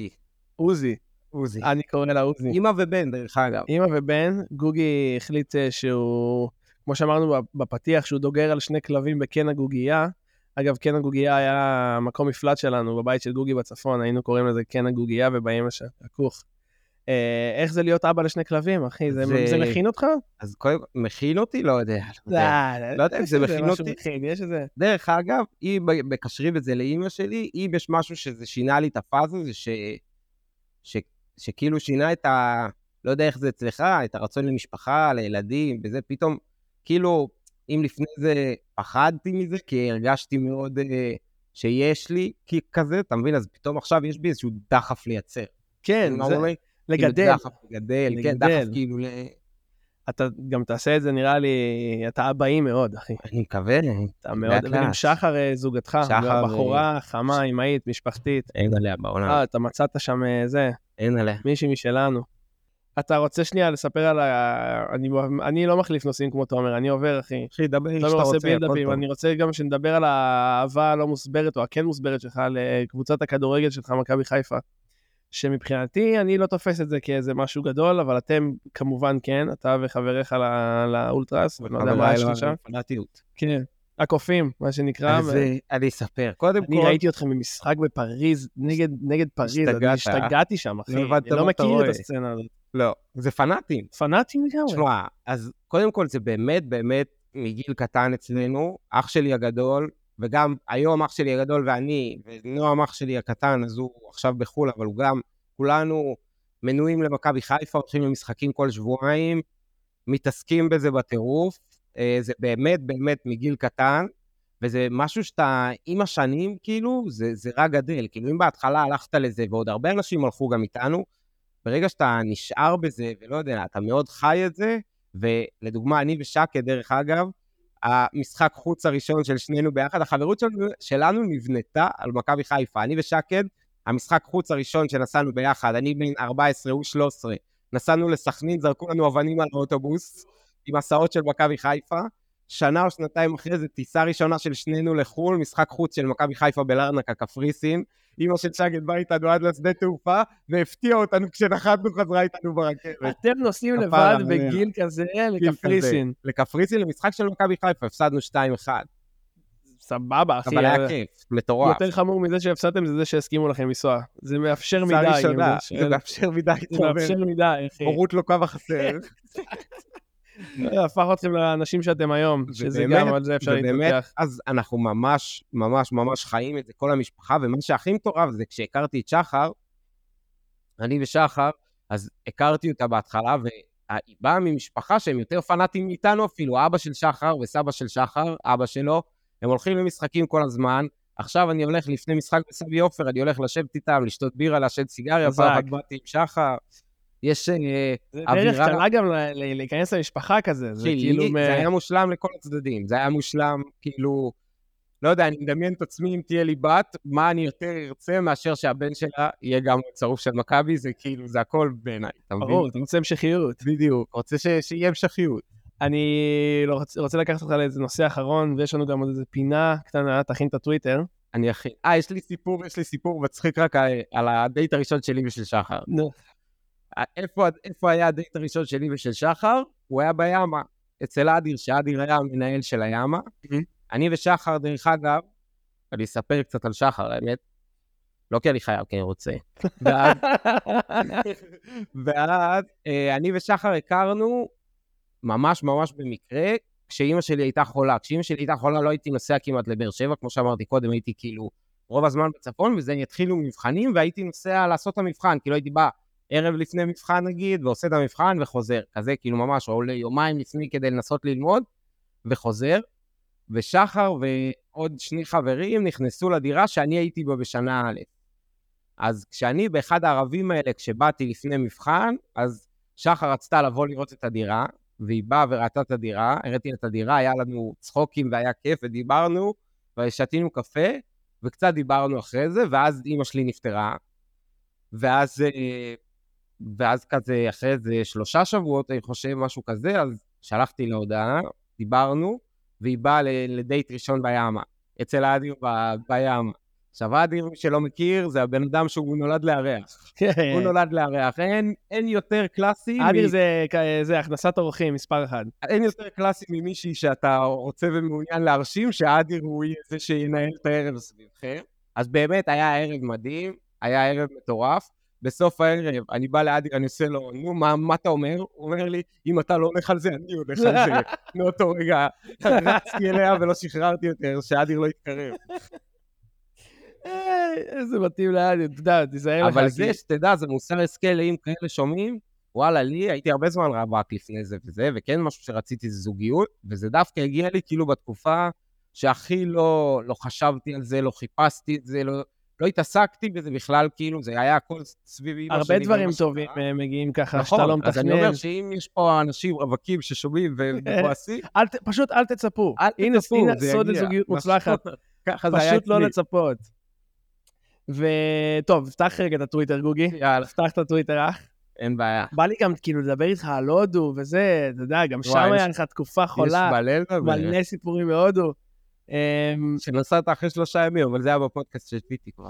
[SPEAKER 1] עוזי.
[SPEAKER 5] עוזי.
[SPEAKER 1] אני קורא לה עוזי.
[SPEAKER 5] אימא ובן, דרך אגב.
[SPEAKER 1] אימא ובן, גוגי החליט אה, שהוא, כמו שאמרנו בפתיח, שהוא דוגר על שני כלבים בקן הגוגייה. אגב, קן הגוגייה היה מקום מפלט שלנו, בבית של גוגי בצפון, היינו קוראים לזה קן הגוגייה ובאים לשם, הכוך. אה, איך זה להיות אבא לשני כלבים, אחי? זה,
[SPEAKER 5] זה-
[SPEAKER 1] זה... מכין אותך?
[SPEAKER 5] אז קודם, מכין אותי? לא יודע. לא
[SPEAKER 1] אה,
[SPEAKER 5] יודע. לא יודע אם
[SPEAKER 1] יש
[SPEAKER 5] זה
[SPEAKER 1] איזה
[SPEAKER 5] מכין
[SPEAKER 1] משהו
[SPEAKER 5] אותי.
[SPEAKER 1] מכין, יש איזה...
[SPEAKER 5] דרך אגב, אם מקשרים את זה לאימא שלי, אם יש משהו שזה שינה לי את הפאזה, זה ש... ש... שכאילו שינה את ה... לא יודע איך זה אצלך, את הרצון למשפחה, לילדים, וזה פתאום, כאילו, אם לפני זה פחדתי מזה, כי הרגשתי מאוד אה, שיש לי, כי כזה, אתה מבין? אז פתאום עכשיו יש בי איזשהו דחף לייצר.
[SPEAKER 1] כן,
[SPEAKER 5] מה
[SPEAKER 1] זה...
[SPEAKER 5] הוא אומר? כאילו,
[SPEAKER 1] לגדל.
[SPEAKER 5] דחף לגדל, כן,
[SPEAKER 1] לגדל.
[SPEAKER 5] דחף כאילו ל...
[SPEAKER 1] אתה גם תעשה את זה, נראה לי, אתה אבאי מאוד, אחי.
[SPEAKER 5] אני מקווה.
[SPEAKER 1] אתה מאוד...
[SPEAKER 5] לאט
[SPEAKER 1] וגם
[SPEAKER 5] לאט.
[SPEAKER 1] שחר אה, זוגתך,
[SPEAKER 5] שחר, אה,
[SPEAKER 1] בחורה חמה, אמהית, משפחתית.
[SPEAKER 5] אין עליה בעולם,
[SPEAKER 1] אה, אתה מצאת שם אה, זה,
[SPEAKER 5] אין עליה.
[SPEAKER 1] מישהי משלנו. אתה רוצה שנייה לספר על ה... אני, אני לא מחליף נושאים כמו תומר, אני עובר, אחי.
[SPEAKER 5] אחי, דבר איך
[SPEAKER 1] תומר
[SPEAKER 5] שאתה
[SPEAKER 1] לא עושה
[SPEAKER 5] רוצה, הכל
[SPEAKER 1] בילדאפים,
[SPEAKER 5] טוב.
[SPEAKER 1] אני רוצה גם שנדבר על האהבה הלא מוסברת, או הכן מוסברת שלך, לקבוצת הכדורגל שלך, מכבי חיפה. שמבחינתי, אני לא תופס את זה כאיזה משהו גדול, אבל אתם כמובן כן, אתה וחבריך לא- לאולטרס, ואני לא יודע מה
[SPEAKER 5] חבריי
[SPEAKER 1] יש
[SPEAKER 5] לא-
[SPEAKER 1] לך שם.
[SPEAKER 5] פנאטיות.
[SPEAKER 1] כן. הקופים, מה שנקרא.
[SPEAKER 5] אז
[SPEAKER 1] ו-
[SPEAKER 5] אה, אני אספר. קודם כל,
[SPEAKER 1] אני ראיתי אתכם במשחק בפריז, נגד, נגד פריז, אני
[SPEAKER 5] השתגעת,
[SPEAKER 1] השתגעתי שם, אחי.
[SPEAKER 5] לא
[SPEAKER 1] אני
[SPEAKER 5] הבנת
[SPEAKER 1] לא
[SPEAKER 5] מה אתה
[SPEAKER 1] מכיר את
[SPEAKER 5] רואה.
[SPEAKER 1] הסצנה הזאת.
[SPEAKER 5] לא, זה פנאטים.
[SPEAKER 1] פנאטים לגמרי.
[SPEAKER 5] תשמע, אז קודם כל זה באמת באמת מגיל קטן אצלנו, אח שלי הגדול, וגם היום אח שלי הגדול ואני, ונועם אח שלי הקטן, אז הוא עכשיו בחו"ל, אבל הוא גם, כולנו מנויים למכבי חיפה, הולכים למשחקים כל שבועיים, מתעסקים בזה בטירוף, אה, זה באמת באמת מגיל קטן, וזה משהו שאתה, עם השנים, כאילו, זה, זה רק גדל. כאילו, אם בהתחלה הלכת לזה, ועוד הרבה אנשים הלכו גם איתנו, ברגע שאתה נשאר בזה, ולא יודע, אתה מאוד חי את זה, ולדוגמה, אני ושקה, דרך אגב, המשחק חוץ הראשון של שנינו ביחד, החברות שלנו, שלנו נבנתה על מכבי חיפה. אני ושקד, המשחק חוץ הראשון שנסענו ביחד, אני בן 14, הוא 13, נסענו לסכנין, זרקו לנו אבנים על האוטובוס, עם הסעות של מכבי חיפה. שנה או שנתיים אחרי זה, טיסה ראשונה של שנינו לחו"ל, משחק חוץ של מכבי חיפה בלרנקה, קפריסין. אמא של שקד באה איתנו עד לשדה תעופה, והפתיעה אותנו כשנחתנו חזרה איתנו ברכבת.
[SPEAKER 1] אתם נוסעים
[SPEAKER 5] כפרה
[SPEAKER 1] לבד
[SPEAKER 5] עליה.
[SPEAKER 1] בגיל כזה
[SPEAKER 5] גיל
[SPEAKER 1] לקפריסין.
[SPEAKER 5] לקפריסין למשחק של מכבי חיפה, הפסדנו 2-1.
[SPEAKER 1] סבבה, אחי.
[SPEAKER 5] אבל היה כיף, מטורף.
[SPEAKER 1] יותר חמור מזה שהפסדתם זה זה שהסכימו לכם לנסוע. זה מאפשר
[SPEAKER 5] קבוצה
[SPEAKER 1] מדי. אני
[SPEAKER 5] ראשונה,
[SPEAKER 1] אומר,
[SPEAKER 5] זה מאפשר מדי,
[SPEAKER 1] זה מאפשר מדי, אחי.
[SPEAKER 5] הורות לא קו החסר.
[SPEAKER 1] זה הפך אתכם לאנשים שאתם היום,
[SPEAKER 5] זה
[SPEAKER 1] שזה
[SPEAKER 5] באמת-
[SPEAKER 1] גם על זה אפשר
[SPEAKER 5] ובאמת,
[SPEAKER 1] להתווכח.
[SPEAKER 5] אז אנחנו ממש, ממש, ממש חיים את זה, כל המשפחה, ומה שהכי מטורף זה כשהכרתי את שחר, אני ושחר, אז הכרתי אותה בהתחלה, והיא באה ממשפחה שהם יותר פנאטים מאיתנו אפילו, אבא של שחר וסבא של שחר, אבא שלו, הם הולכים למשחקים כל הזמן. עכשיו אני הולך לפני משחק בסבי עופר, אני הולך לשבת איתם, לשתות בירה, לעשן סיגריה, פעם
[SPEAKER 1] חזק.
[SPEAKER 5] אחת באתי עם שחר. יש... אה,
[SPEAKER 1] זה דרך
[SPEAKER 5] אווירה-
[SPEAKER 1] קלה גם ל- ל- להיכנס למשפחה כזה. זה
[SPEAKER 5] אחי,
[SPEAKER 1] כאילו...
[SPEAKER 5] לי-
[SPEAKER 1] מ-
[SPEAKER 5] כן, זה היה מושלם לכל הצדדים, זה היה מושלם, כאילו, לא יודע, אני מדמיין את עצמי אם תהיה לי בת, מה אני יותר ארצה מאשר שהבן שלה יהיה גם צרוף של מכבי, זה כאילו, זה הכל בעיניי, אתה מבין?
[SPEAKER 1] ברור, אתה רוצה המשכיות.
[SPEAKER 5] בדיוק, רוצה ש- שיהיה המשכיות.
[SPEAKER 1] אני
[SPEAKER 5] *laughs*
[SPEAKER 1] לא רוצ- רוצה לקחת אותך לאיזה נושא אחרון, ויש לנו גם עוד איזה פינה קטנה, תכין את הטוויטר.
[SPEAKER 5] אני הכי... אה, יש לי סיפור, יש לי סיפור מצחיק רק על- על הדייט הראשון שלי ושל שחר.
[SPEAKER 1] נו.
[SPEAKER 5] אה, איפה, איפה היה הדייט הראשון שלי ושל שחר? הוא היה ביאמה, אצל אדיר, שאדיר היה המנהל של היאמה.
[SPEAKER 1] Mhm.
[SPEAKER 5] אני ושחר, דרך אגב, אני אספר קצת על שחר, האמת. לא כי אני חייב, כי אני רוצה. ואז, ואז אה, אני ושחר הכרנו ממש ממש במקרה, כשאימא שלי הייתה חולה. כשאימא שלי הייתה חולה לא הייתי נוסע כמעט לבאר שבע, כמו שאמרתי קודם, הייתי כאילו רוב הזמן בצפון, וזה התחילו מבחנים, והייתי נוסע לעשות את המבחן, כאילו הייתי בא ערב לפני מבחן נגיד, ועושה את המבחן וחוזר. כזה כאילו ממש, או עולה יומיים לפני כדי לנסות ללמוד, וחוזר. ושחר ועוד שני חברים נכנסו לדירה שאני הייתי בה בשנה א'. אז כשאני באחד הערבים האלה, כשבאתי לפני מבחן, אז שחר רצתה לבוא לראות את הדירה, והיא באה וראתה את הדירה, הראתי לה את הדירה, היה לנו צחוקים והיה כיף, ודיברנו, ושתינו קפה, וקצת דיברנו אחרי זה, ואז אימא שלי נפטרה, ואז, אה, ואז כזה, אחרי איזה שלושה שבועות, אני חושב, משהו כזה, אז שלחתי לה הודעה, דיברנו, והיא באה ל- לדייט ראשון בימה, אצל האדיר ב- בימה. עכשיו, האדיר, מי שלא מכיר, זה הבן אדם שהוא נולד לארח.
[SPEAKER 1] כן.
[SPEAKER 5] הוא נולד לארח, אין, אין יותר קלאסי...
[SPEAKER 1] אדיר זה כ- זה הכנסת אורחים, מספר אחד.
[SPEAKER 5] אין יותר קלאסי ממישהי שאתה רוצה ומעוניין להרשים, שאדיר הוא יהיה זה שינהל את הערב סביבכם. אז באמת, היה ערב מדהים, היה ערב מטורף. בסוף הערב, אני בא לאדיר, אני עושה לו, נו, מה, מה אתה אומר? הוא אומר לי, אם אתה לא הולך על זה, אני הולך על זה. מאותו רגע רצתי אליה ולא שחררתי יותר, שאדיר לא יתקרב.
[SPEAKER 1] אה, איזה מתאים לאדיר, אתה יודע, תיזהר לך.
[SPEAKER 5] אבל
[SPEAKER 1] כי-
[SPEAKER 5] זה, שתדע, זה מוסר השכל, אם כאלה שומעים, וואלה, לי הייתי הרבה זמן רווק לפני זה וזה, וכן משהו שרציתי זה זוגיות, וזה דווקא הגיע לי כאילו בתקופה שהכי לא, לא חשבתי על זה, לא חיפשתי את זה, לא, לא התעסקתי בזה בכלל, כאילו, זה היה הכל סביב אמא שלי.
[SPEAKER 1] הרבה דברים
[SPEAKER 5] ואמא שלי
[SPEAKER 1] טובים
[SPEAKER 5] קרה.
[SPEAKER 1] אה, מגיעים ככה, שאתה לא
[SPEAKER 5] נכון, אז אני
[SPEAKER 1] מתכנן.
[SPEAKER 5] אומר שאם יש פה אנשים רווקים ששומעים ו-
[SPEAKER 1] *laughs*
[SPEAKER 5] וכועסים,
[SPEAKER 1] אל ת- פשוט אל תצפו.
[SPEAKER 5] אל
[SPEAKER 1] הנה,
[SPEAKER 5] תצפו,
[SPEAKER 1] הנה
[SPEAKER 5] זה
[SPEAKER 1] סוד
[SPEAKER 5] יגיע.
[SPEAKER 1] לזוגיות
[SPEAKER 5] *laughs* נכון,
[SPEAKER 1] מוצלחת.
[SPEAKER 5] ככה זה היה
[SPEAKER 1] פשוט לא
[SPEAKER 5] אצלי.
[SPEAKER 1] לצפות. וטוב, פתח רגע את הטוויטר, גוגי.
[SPEAKER 5] יאללה,
[SPEAKER 1] פתח את הטוויטר, אח.
[SPEAKER 5] אין בעיה.
[SPEAKER 1] בא לי גם כאילו לדבר איתך על הודו וזה, אתה יודע, גם שם
[SPEAKER 5] וואי,
[SPEAKER 1] היה
[SPEAKER 5] יש-
[SPEAKER 1] לך תקופה חולה,
[SPEAKER 5] יש מלא לדבר.
[SPEAKER 1] מלא סיפורים מהודו. אמ,
[SPEAKER 5] שנסעת אחרי שלושה ימים, אבל זה היה בפודקאסט של פיטי כבר.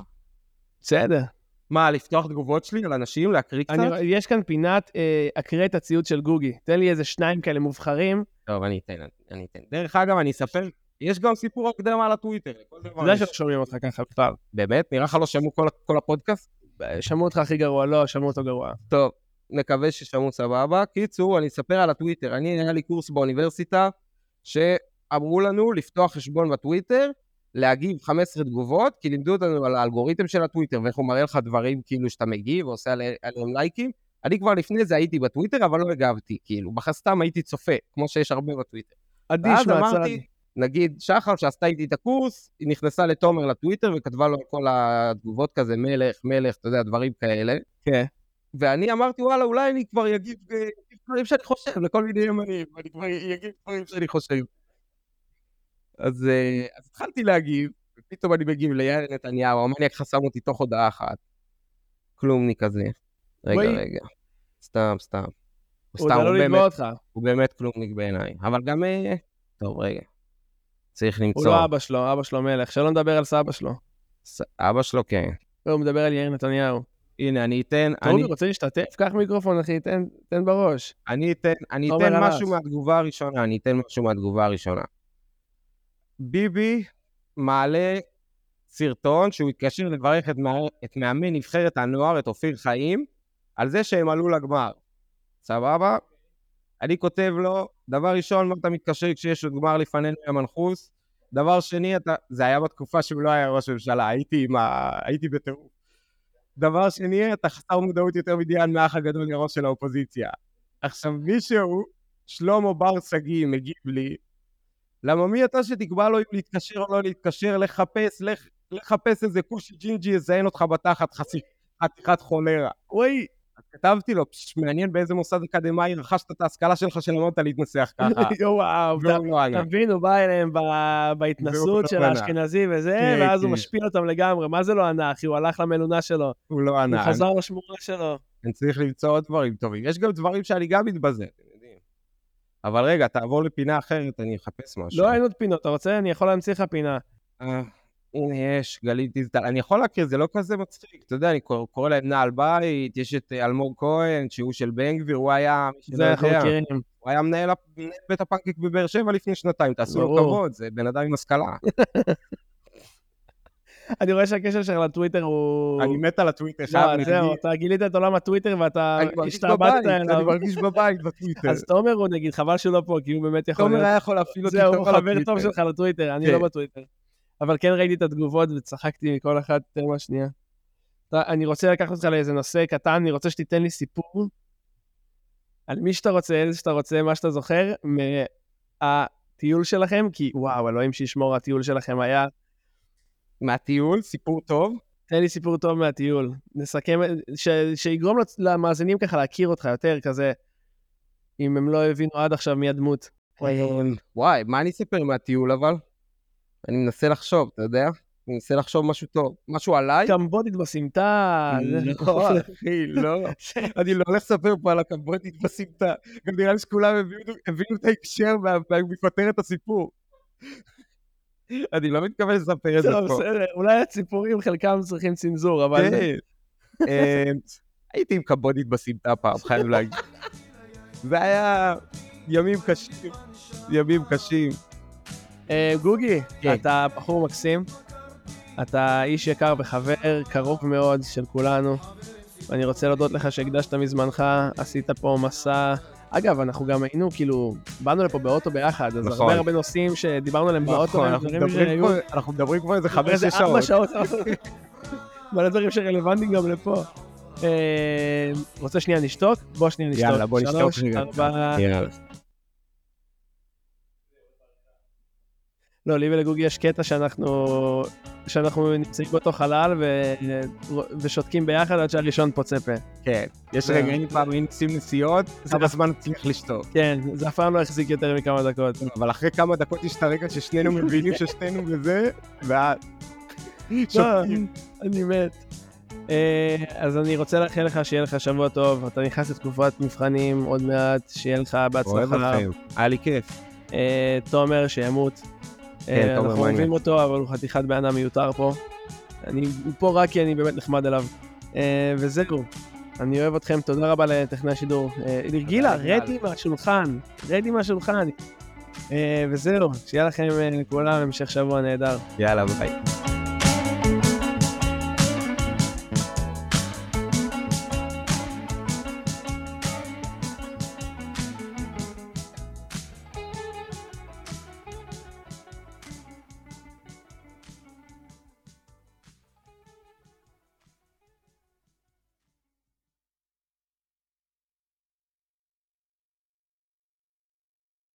[SPEAKER 1] בסדר.
[SPEAKER 5] מה, לפתוח תגובות שלי על אנשים? להקריא קצת?
[SPEAKER 1] אני- יש כאן פינת, אה, אקרא את הציוד של גוגי. תן לי איזה שניים כאלה מובחרים.
[SPEAKER 5] טוב, אני אתן, אני אתן. דרך אגב, אני אספר, יש גם סיפור הקדמה לטוויטר. לכל דבר
[SPEAKER 1] אתה יודע
[SPEAKER 5] יש.
[SPEAKER 1] שלא שומעים אותך ככה בכלל.
[SPEAKER 5] באמת? נראה לך לא שמעו כל- כל הפודקאסט?
[SPEAKER 1] שמעו אותך הכי גרוע, לא, שמעו אותו גרוע.
[SPEAKER 5] טוב, נקווה ששמעו סבבה. קיצור, אני אספר על הטוויטר. אני, היה לי קורס באוניברסיטה, שאמרו לנו לפתוח חשבון בטוויטר, להגיב 15 תגובות, כי לימדו אותנו על האלגוריתם של הטוויטר, ואיך הוא מראה לך דברים כאילו שאתה מגיב, ועושה עלי- עליהם לייקים. אני כבר לפני זה הייתי בטוויטר, אבל לא הגבתי, כאילו, סתם הייתי צופה, כמו שיש הרבה בטוויטר.
[SPEAKER 1] אדיש
[SPEAKER 5] ואז
[SPEAKER 1] מהצד.
[SPEAKER 5] אמרתי, נגיד, שחר שעשתה איתי את הקורס, היא נכנסה לתומר לטוויטר וכתבה לו על כל התגובות כזה, מלך, מלך, אתה יודע, דברים כאלה.
[SPEAKER 1] כן.
[SPEAKER 5] ואני אמרתי, וואלה, אולי אני כבר אגיב אה, אגיב דברים שאני חושב לכל מיני ימנים, אני כבר אגיב דברים שאני חושב. אז, אה, אז התחלתי להגיב, ופתאום אני מגיב ליאיר נתניהו, המניאק חסם אותי תוך הודעה אחת. כלומני כזה. רגע,
[SPEAKER 1] בואי.
[SPEAKER 5] רגע. סתם, סתם. הוא
[SPEAKER 1] הוא עוד
[SPEAKER 5] סתם, הוא
[SPEAKER 1] עלול
[SPEAKER 5] באמת
[SPEAKER 1] לתבוע אותך.
[SPEAKER 5] הוא באמת כלומניק בעיניי, אבל גם... אה, טוב, רגע. צריך
[SPEAKER 1] הוא
[SPEAKER 5] למצוא.
[SPEAKER 1] לא אבא שלו, אבא שלו מלך. שלא נדבר על סבא שלו.
[SPEAKER 5] ס- אבא שלו, כן.
[SPEAKER 1] לא, הוא מדבר על יאיר נתניהו.
[SPEAKER 5] הנה, אני אתן, אני,
[SPEAKER 1] טובי, רוצה להשתתף? קח מיקרופון, אחי, תן- תן בראש.
[SPEAKER 5] אני אתן, אני
[SPEAKER 1] תומר
[SPEAKER 5] אתן
[SPEAKER 1] הרס.
[SPEAKER 5] משהו מהתגובה הראשונה, אני אתן משהו מהתגובה הראשונה. ביבי מעלה סרטון שהוא התקשר לברך את, מאמן- את מאמן נבחרת הנוער, את אופיר חיים, על זה שהם עלו לגמר. סבבה? אני כותב לו, דבר ראשון, מה אתה מתקשר כשיש עוד גמר לפנינו ים מנחוס? דבר שני, אתה... זה היה בתקופה שהוא לא היה ראש ממשלה, הייתי, עם ה... הייתי בטירוף. דבר שני, אתה חסר מודעות יותר מדיין מהאח הגדול לראש של האופוזיציה. עכשיו, מישהו, שלמה בר שגיא, מגיב לי, למה מי אתה שתקבע לו אם להתקשר או לא להתקשר, לחפש, לך, לחפש איזה כושי ג'ינג'י יזיין אותך בתחת חסי- חתיכת חולרה.
[SPEAKER 1] וואי,
[SPEAKER 5] אז כתבתי לו, פש, מעניין באיזה מוסד אקדמאי רכשת את ההשכלה שלך שלמדת להתנסח
[SPEAKER 1] *laughs*
[SPEAKER 5] ככה.
[SPEAKER 1] וואו, אתה-
[SPEAKER 5] והוא לא ענה.
[SPEAKER 1] אתה מבין, הוא בא אליהם ב-
[SPEAKER 5] והוא
[SPEAKER 1] בהתנסות
[SPEAKER 5] לא
[SPEAKER 1] של
[SPEAKER 5] ענה.
[SPEAKER 1] האשכנזי וזה,
[SPEAKER 5] כן,
[SPEAKER 1] ואז הוא
[SPEAKER 5] כן.
[SPEAKER 1] משפיל אותם לגמרי. מה זה לא ענה, אחי? הוא הלך למלונה שלו.
[SPEAKER 5] הוא לא
[SPEAKER 1] הוא
[SPEAKER 5] ענה.
[SPEAKER 1] חזר לשמורה שלו.
[SPEAKER 5] אני צריך למצוא עוד דברים טובים. יש גם דברים שאני גם מתבזה, אתם יודעים. אבל רגע, תעבור לפינה אחרת, אני אחפש משהו.
[SPEAKER 1] לא, אין עוד פינות. אתה רוצה? אני יכול להמציא לך פינה.
[SPEAKER 5] אה, הנה יש, גלית דיסטל, אני יכול להכיר, זה לא כזה מצחיק, אתה יודע, אני קורא, קורא להם נעל בית, יש את אה, אלמוג כהן, שהוא של בן גביר, הוא היה, מי שלא
[SPEAKER 1] זה אנחנו
[SPEAKER 5] יודע,
[SPEAKER 1] מכירים.
[SPEAKER 5] הוא היה מנהל הפ- מנהל בית הפנקק בבאר שבע לפני שנתיים, תעשו לו
[SPEAKER 1] ברור.
[SPEAKER 5] כבוד, זה בן אדם עם השכלה.
[SPEAKER 1] אני רואה שהקשר שלך לטוויטר הוא...
[SPEAKER 5] אני מת על הטוויטר, חייב
[SPEAKER 1] לא,
[SPEAKER 5] להגיד.
[SPEAKER 1] זהו, אתה גילית את עולם הטוויטר ואתה
[SPEAKER 5] אני מרגיש
[SPEAKER 1] השתעבדת
[SPEAKER 5] בבית,
[SPEAKER 1] אליו.
[SPEAKER 5] אני מרגיש בבית בטוויטר.
[SPEAKER 1] אז תומר הוא נגיד, חבל שהוא לא פה, כי הוא באמת יכול
[SPEAKER 5] תומר
[SPEAKER 1] להיות...
[SPEAKER 5] היה יכול להפעיל אותי
[SPEAKER 1] זהו, הוא
[SPEAKER 5] בתוך
[SPEAKER 1] חבר טוב
[SPEAKER 5] הטוויטר.
[SPEAKER 1] שלך לטוויטר, אני
[SPEAKER 5] כן.
[SPEAKER 1] לא בטוויטר. אבל כן ראיתי את התגובות וצחקתי מכל אחת יותר מהשנייה. אתה- אני רוצה לקחת אותך לאיזה נושא קטן, אני רוצה שתיתן לי סיפור על מי שאתה רוצה, איזה שאתה רוצה, מה שאתה זוכר, מהטיול שלכם, כי וואו, אלוהים שישמור, הטיול שלכם היה...
[SPEAKER 5] מהטיול, סיפור טוב.
[SPEAKER 1] תן לי סיפור טוב מהטיול. נסכם, ש, שיגרום לצ- למאזינים ככה להכיר אותך יותר, כזה, אם הם לא הבינו עד עכשיו מי הדמות.
[SPEAKER 5] אמ, וואי, מה אני אספר מהטיול אבל? אני מנסה לחשוב, אתה יודע? אני מנסה לחשוב משהו טוב. משהו עליי?
[SPEAKER 1] קמבודית בסמטה. נכון. זה-
[SPEAKER 5] אה. לא, אחי, לא. *laughs* אני לא הולך לספר פה על הקמבודית בסמטה. גם נראה לי שכולם הבינו- הבינו את ההקשר מה- מה- מכותרת הסיפור. אני לא מתכוון לספר את זה
[SPEAKER 1] טוב,
[SPEAKER 5] פה.
[SPEAKER 1] בסדר, אולי הסיפורים חלקם צריכים צנזור, אבל...
[SPEAKER 5] כן. אמ, הייתי עם קבודית בסמטה פעם, חייב להגיד. זה היה ימים קשים, ימים קשים.
[SPEAKER 1] אה, גוגי,
[SPEAKER 5] כן.
[SPEAKER 1] אתה בחור מקסים, אתה איש יקר וחבר קרוב מאוד של כולנו, ואני רוצה להודות לך שהקדשת מזמנך, עשית פה מסע. אגב, אנחנו גם היינו, כאילו, באנו לפה באוטו ביחד, אז
[SPEAKER 5] נכון.
[SPEAKER 1] הרבה הרבה נושאים שדיברנו עליהם באוטו,
[SPEAKER 5] נכון,
[SPEAKER 1] הם
[SPEAKER 5] אנחנו
[SPEAKER 1] דברים
[SPEAKER 5] מדברים
[SPEAKER 1] שהיו-
[SPEAKER 5] פה- אנחנו מדברים כבר איזה חמש,
[SPEAKER 1] איזה
[SPEAKER 5] שש שעות.
[SPEAKER 1] ארבע שעות. מלא דברים שרלוונטיים גם לפה. אה, רוצה שנייה נשתוק? בוא שנייה נשתוק.
[SPEAKER 5] יאללה, בוא נשתוק
[SPEAKER 1] שלוש,
[SPEAKER 5] רגע. כן.
[SPEAKER 1] ארבע...
[SPEAKER 5] יאללה.
[SPEAKER 1] לא, לי ולגוגי יש קטע שאנחנו, שאנחנו נמצאים באותו חלל ו, ושותקים ביחד עד שהראשון פוצה פה.
[SPEAKER 5] כן, יש
[SPEAKER 1] זהו.
[SPEAKER 5] רגעים פעם היינו עושים נסיעות, כמה זמן צריך לשתוק.
[SPEAKER 1] כן, זה אף פעם לא החזיק יותר מכמה דקות.
[SPEAKER 5] אבל אחרי כמה דקות יש את
[SPEAKER 1] *laughs*
[SPEAKER 5] הרגע ששנינו מבינים ששנינו בזה, ואז... שותקים.
[SPEAKER 1] לא, אני מת. אה, אז אני רוצה לאחל לך שיהיה לך שבוע טוב, אתה נכנס לתקופת מבחנים עוד מעט, שיהיה לך בהצלחה.
[SPEAKER 5] היה לי כיף.
[SPEAKER 1] אה, תומר שימות.
[SPEAKER 5] כן,
[SPEAKER 1] אה, אנחנו
[SPEAKER 5] תומר מניאק.
[SPEAKER 1] אוהבים אותו, אבל הוא חתיכת בן אדם מיותר פה. אני הוא פה רק כי אני באמת נחמד אליו. אה, וזהו, אני אוהב אתכם, תודה רבה לטכנאי השידור. אה, גילה,
[SPEAKER 5] גילה.
[SPEAKER 1] רדי מהשולחן, רדי מהשולחן. אה, וזהו, שיהיה לכם אה, לכולם המשך שבוע נהדר.
[SPEAKER 5] יאללה, ביי.